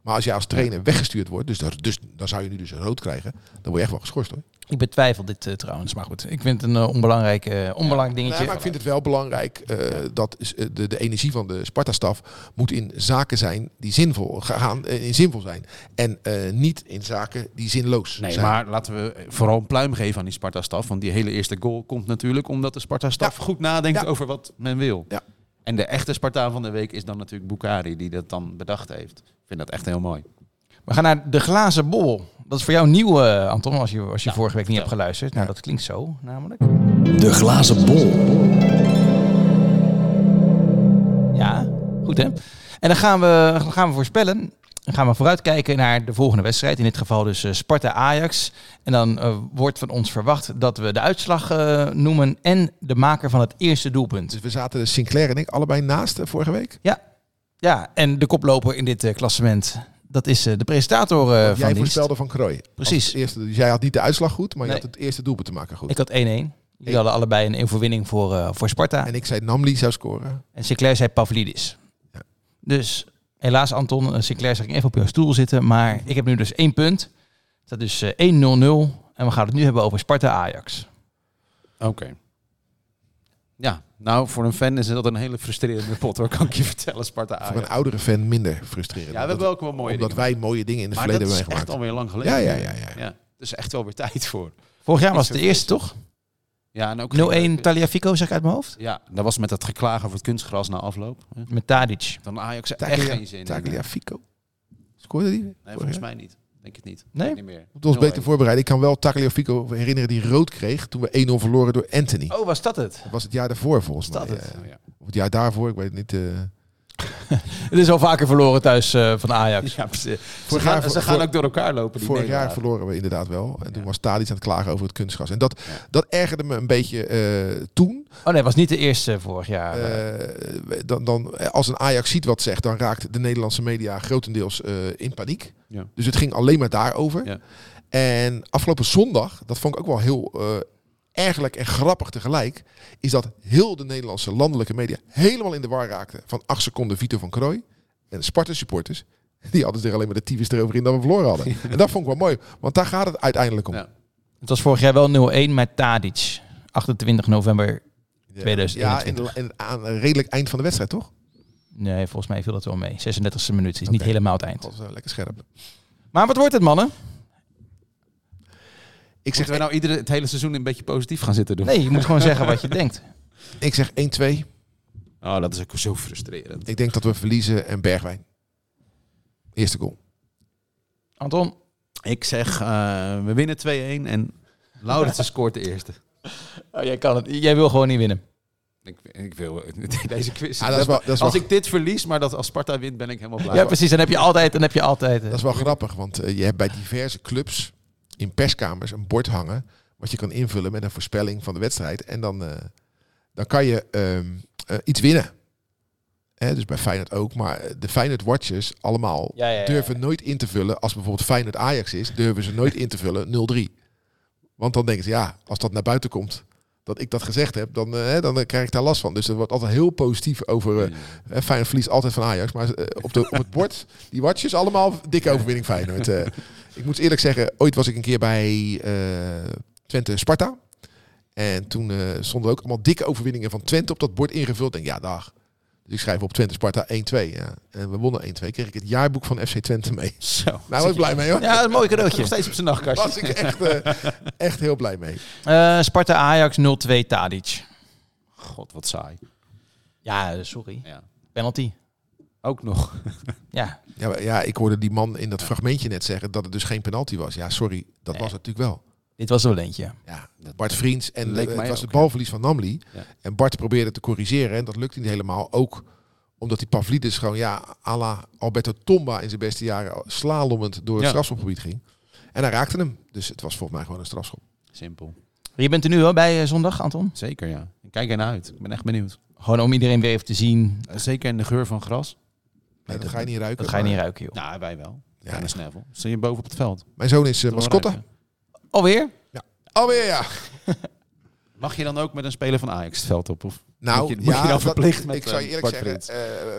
D: Maar als je als trainer weggestuurd wordt, dus, daar- dus dan zou je nu dus een rood krijgen. Dan word je echt wel geschorst hoor.
B: Ik betwijfel dit eh, trouwens, maar goed. Ik vind het een eh, onbelangrijk, eh, onbelangrijk dingetje.
D: Nee, maar ik vind het wel belangrijk eh, dat is, eh, de, de energie van de Sparta-staf moet in zaken zijn die zinvol gaan, eh, in zinvol zijn. En eh, niet in zaken die zinloos
C: Nee,
D: zijn.
C: maar Dus laten we vooral een pluim geven aan die Sparta-staf. Want die hele eerste goal komt natuurlijk omdat de Sparta-staf goed nadenkt
D: Ja.
C: over wat men wil.
D: Ja.
C: En de echte Spartaan van de week is dan natuurlijk Bukari, die dat dan bedacht heeft. Ik vind dat echt heel mooi.
B: We gaan naar de glazen bol. Dat is voor jou nieuw, eh, Anton, als je, als je vorige week niet hebt geluisterd. Nou, dat klinkt zo, namelijk.
A: De glazen bol.
B: Ja, goed hè. En dan gaan we, dan gaan we voorspellen. Dan gaan we vooruitkijken naar de volgende wedstrijd. In dit geval dus eh, Sparta-Ajax. En dan eh, wordt van ons verwacht dat we de uitslag eh, noemen en de maker van het eerste doelpunt.
D: Dus we zaten Sinclair en ik allebei naast eh, vorige week.
B: Ja, en de koploper in dit eh, klassement, dat is eh, de presentator eh,
D: Want
B: van
D: jij
B: dienst.
D: voorspelde van Krooi.
B: Precies.
D: Als Eerste, dus jij had niet de uitslag goed, maar
B: Nee.
D: je had het eerste doelpunt te maken goed.
B: Ik had 1-1. Jullie hadden allebei een overwinning voor, eh, voor Sparta.
D: en ik zei Namli zou scoren.
B: En Sinclair zei Pavlidis. Dus helaas Anton, eh, Sinclair zag ik even op jouw stoel zitten. Maar ik heb nu dus één punt. Dat is eh, 1-0-0. En we gaan het nu hebben over Sparta-Ajax.
C: Oké. Ja, nou voor een fan is dat een hele frustrerende pot hoor, kan ik je [laughs] vertellen, Sparta-Ajax.
D: Voor een oudere fan minder frustrerend.
C: Ah, Ja, we hebben
D: Omdat-
C: ook wel mooie
D: Omdat
C: dingen.
D: wij mooie dingen in het
C: Maar dat
D: verleden
C: is
D: hebben
C: echt
D: gemaakt.
C: alweer lang geleden.
D: Ja, ja, ja. ja.
C: Ja, dus echt wel weer tijd voor.
B: Vorig jaar was het
C: Niet
B: de
C: zo
B: eerste, toch?
C: Ja, en ook
B: 0-1 Taliafico, zeg ik uit mijn hoofd.
C: Ja, dat was met dat geklagen over het kunstgras na afloop. Ja.
B: Met Tadic.
C: Dan Ajax echt
D: Taglia-
C: geen zin in.
D: Tagliafico. Scoorde die?
C: Nee, volgens mij niet. Denk het niet.
B: Nee?
C: Niet meer.
D: Moet ons
C: 0-1.
D: beter voorbereiden. Ik kan wel Tagliafico herinneren die rood kreeg toen we 1-0 verloren door Anthony.
B: Oh, was dat het?
D: Dat was het jaar daarvoor volgens
B: Was dat
D: mij.
B: het?
D: eh.
C: Oh, ja.
D: Of het jaar daarvoor, ik weet het niet. eh.
B: Het is al vaker verloren thuis eh, van Ajax.
C: Ja, precies. Ze
D: Vorig
C: gaan,
D: jaar-
C: ze
D: voor-
C: gaan
D: voor-
C: ook door elkaar lopen. Die
D: vorig jaar
C: nederlagen.
D: verloren we inderdaad wel. En toen was Tadic aan het klagen over het kunstgras. En dat, dat ergerde me een beetje eh, toen.
B: Oh nee, het was niet de eerste vorig jaar.
D: Eh, dan, dan, als een Ajax ziet wat zegt, dan raakt de Nederlandse media grotendeels eh, in paniek.
C: Ja.
D: Dus het ging alleen maar daarover.
C: Ja.
D: En afgelopen zondag, dat vond ik ook wel heel eh ergerlijk en grappig tegelijk, is dat heel de Nederlandse landelijke media helemaal in de war raakten van 8 seconden Vito van Krooi en Sparta supporters. [laughs] Die hadden er alleen maar de tyfus erover in dat we verloren hadden. En dat vond ik wel mooi, want daar gaat het uiteindelijk om.
C: Ja.
B: het was vorig jaar wel 0-1 met Tadic. 28 november.
D: Ja.
B: 2021.
D: Ja, in, de- in- aan een redelijk eind van de wedstrijd, toch?
B: Nee, volgens mij viel dat wel mee. 36e minuut. Is niet
D: Oké.
B: helemaal het eind.
D: Dat was eh, lekker scherp.
B: Maar wat wordt het, mannen?
D: Ik zeg,
C: Moeten we nou iedere, het hele seizoen een beetje positief gaan zitten doen?
B: Nee, je moet gewoon zeggen wat je denkt.
D: ik zeg 1-2.
C: Oh, dat is ook zo frustrerend.
D: Ik denk dat we verliezen en Bergwijn. Eerste goal.
B: Anton,
C: Ik zeg, eh, we winnen 2-1 en Lauritsen [laughs] scoort de eerste.
B: Oh, jij kan het. Jij wil gewoon niet winnen.
C: Ik, ik wil [laughs] deze quiz.
D: Ah, dat is wel- dat is wel-
C: als ik dit verlies, maar dat als Sparta wint, ben ik helemaal blij.
B: Ja, precies. Dan heb je altijd. Dan heb je altijd eh,
D: Dat is wel grappig, want eh, je hebt bij diverse clubs in perskamers een bord hangen. wat je kan invullen met een voorspelling van de wedstrijd. En dan, eh, dan kan je ehm, eh, iets winnen. Hè, dus bij Feyenoord ook. Maar eh, de Feyenoord Watchers allemaal
B: Ja, ja, ja.
D: durven nooit in te vullen. Als bijvoorbeeld Feyenoord Ajax is, durven ze nooit in te vullen 0-3. Want dan denken ze, ja, als dat naar buiten komt, dat ik dat gezegd heb, dan, eh, hè, dan eh, krijg ik daar last van. Dus er wordt altijd heel positief over eh eh, Feyenoord verliest altijd van Ajax. Maar eh, op, de, op het bord, die watjes, allemaal dikke overwinning Feyenoord. eh. ik moet eerlijk zeggen, ooit was ik een keer bij eh, Twente Sparta. En toen eh, stonden ook allemaal dikke overwinningen van Twente op dat bord ingevuld. Ik Denk, ja, dag. Dus ik schrijf op Twente Sparta 1-2. Ja. En we wonnen 1-2. Kreeg ik het jaarboek van FC Twente mee.
C: Zo. Zit
D: Nou, was ik blij mee hoor.
B: Ja, dat is een mooi
C: Nog
B: cadeautje.
C: steeds op zijn nachtkastje.
D: was ik echt, eh, echt heel blij mee.
B: Eh, Sparta Ajax 0-2 Tadic.
C: God, wat saai.
B: Ja, eh, sorry.
C: Ja.
B: Penalty.
C: Ook nog.
B: Ja.
D: Ja, maar- ja, ik hoorde die man in dat fragmentje net zeggen dat het dus geen penalty was. Ja, sorry, dat was het natuurlijk wel.
B: Dit was er wel eentje.
D: Ja, Bart Vriends en
C: leek
D: eh, het
C: mij
D: was
C: ook,
D: het balverlies van Namli.
C: Ja.
D: En Bart probeerde te corrigeren en dat lukte niet helemaal. Ook omdat die Pavlidis gewoon, ja, à la Alberto Tomba in zijn beste jaren slalommend door het
C: Ja.
D: strafschopgebied ging. En hij raakte hem. Dus het was volgens mij gewoon een strafschop.
C: Simpel.
B: Je bent er nu wel bij eh, zondag, Anton.
C: Zeker, ja. Ik Kijk ernaar uit. Ik ben echt benieuwd.
B: Gewoon om iedereen weer even te zien.
C: Eh, Zeker in de geur van gras.
D: Nee, dat, ga je niet ruiken.
B: Dat ga je
D: maar-
B: niet ruiken, joh.
C: Nou, wij wel.
D: Ja,
C: Ja,
D: ja.
C: de snevel. Zit je boven op het veld?
D: Mijn zoon is
C: Toch
D: eh,
C: wel
D: mascotte.
C: ruiken.
B: Alweer?
D: Alweer ja.
C: Mag je dan ook met een speler van Ajax het veld op? Of
D: Nou,
C: moet je, moet je dan
D: dat-
C: verplicht met
D: ik zou je
C: eh,
D: eerlijk
C: Bart
D: zeggen,
C: Prins?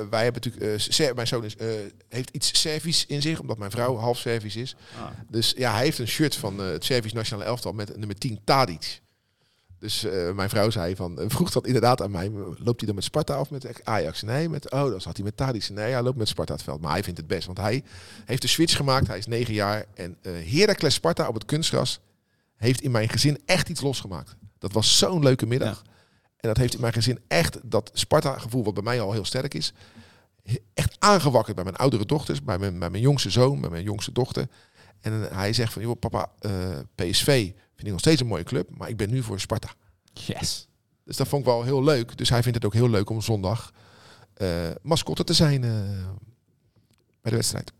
D: eh, wij hebben natuurlijk, eh, Ser- mijn zoon is, eh, heeft iets Servisch in zich, omdat mijn vrouw half Servisch is.
C: Ah.
D: Dus ja, hij heeft een shirt van eh, het Servisch Nationale Elftal met nummer 10 Tadic. Dus eh, mijn vrouw zei van, eh, vroeg dat inderdaad aan mij, loopt hij dan met Sparta of met Ajax? Nee, met, oh, dan zat hij met Tadic. Nee, hij loopt met Sparta het veld. Maar hij vindt het best, want hij heeft de switch gemaakt. Hij is negen jaar en eh Heracles Sparta op het kunstgras heeft in mijn gezin echt iets losgemaakt. Dat was zo'n leuke middag. En dat heeft in mijn gezin echt dat Sparta-gevoel, wat bij mij al heel sterk is, he- echt aangewakkerd bij mijn oudere dochters, bij mijn, bij mijn jongste zoon, bij mijn jongste dochter. En hij zegt van, joh papa, eh, PSV vind ik nog steeds een mooie club, maar ik ben nu voor Sparta.
C: Yes.
D: Dus dat vond ik wel heel leuk. Dus hij vindt het ook heel leuk om zondag eh, mascotte te zijn eh, bij de wedstrijd.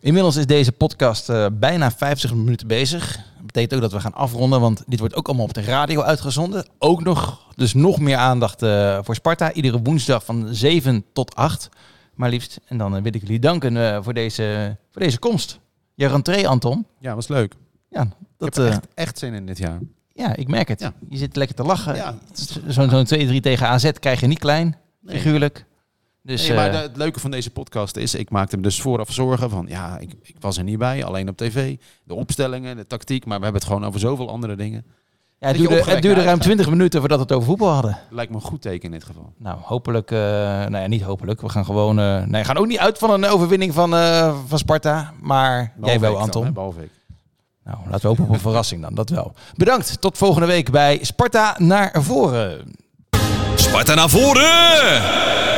B: Inmiddels is deze podcast eh, bijna 50 minuten bezig. Dat betekent ook dat we gaan afronden, want dit wordt ook allemaal op de radio uitgezonden. Ook nog, dus nog meer aandacht eh, voor Sparta. Iedere woensdag van 7 tot 8, maar liefst. En dan eh, wil ik jullie danken eh, voor, deze, voor deze komst. Je rentree, Anton.
C: Ja, was leuk.
B: Ja,
C: ik
B: dat,
C: heb er
B: eh,
C: echt, echt zin in dit jaar.
B: ja ik merk het.
C: Ja.
B: Je zit lekker te lachen.
C: Ja, het is-
B: Zo'n zo'n 2-3 tegen AZ krijg je niet klein,
C: Nee.
B: figuurlijk. Dus,
C: nee, maar
B: eh,
C: de- het leuke van deze podcast is, ik maakte me dus vooraf zorgen van, ja, ik, ik was er niet bij, alleen op tv. De opstellingen, de tactiek, maar we hebben het gewoon over zoveel andere dingen.
B: ja, het
C: je
B: duurde, het
C: opgewekt
B: duurde
C: naar
B: ruim
C: huis
B: 20 minuten voordat we het over voetbal hadden.
C: gaat. Lijkt me een goed teken in dit geval.
B: Nou, hopelijk, eh, nou ja, niet hopelijk. We gaan gewoon, eh nee, we gaan ook niet uit van een overwinning van, eh, van Sparta. Maar jij
C: Behalve ik
B: wel,
C: dan,
B: Anton.
C: hè, behalve ik.
B: nou, laten we hopen op een verrassing dan, dat wel. Bedankt, tot volgende week bij Sparta naar voren.
A: Sparta naar voren!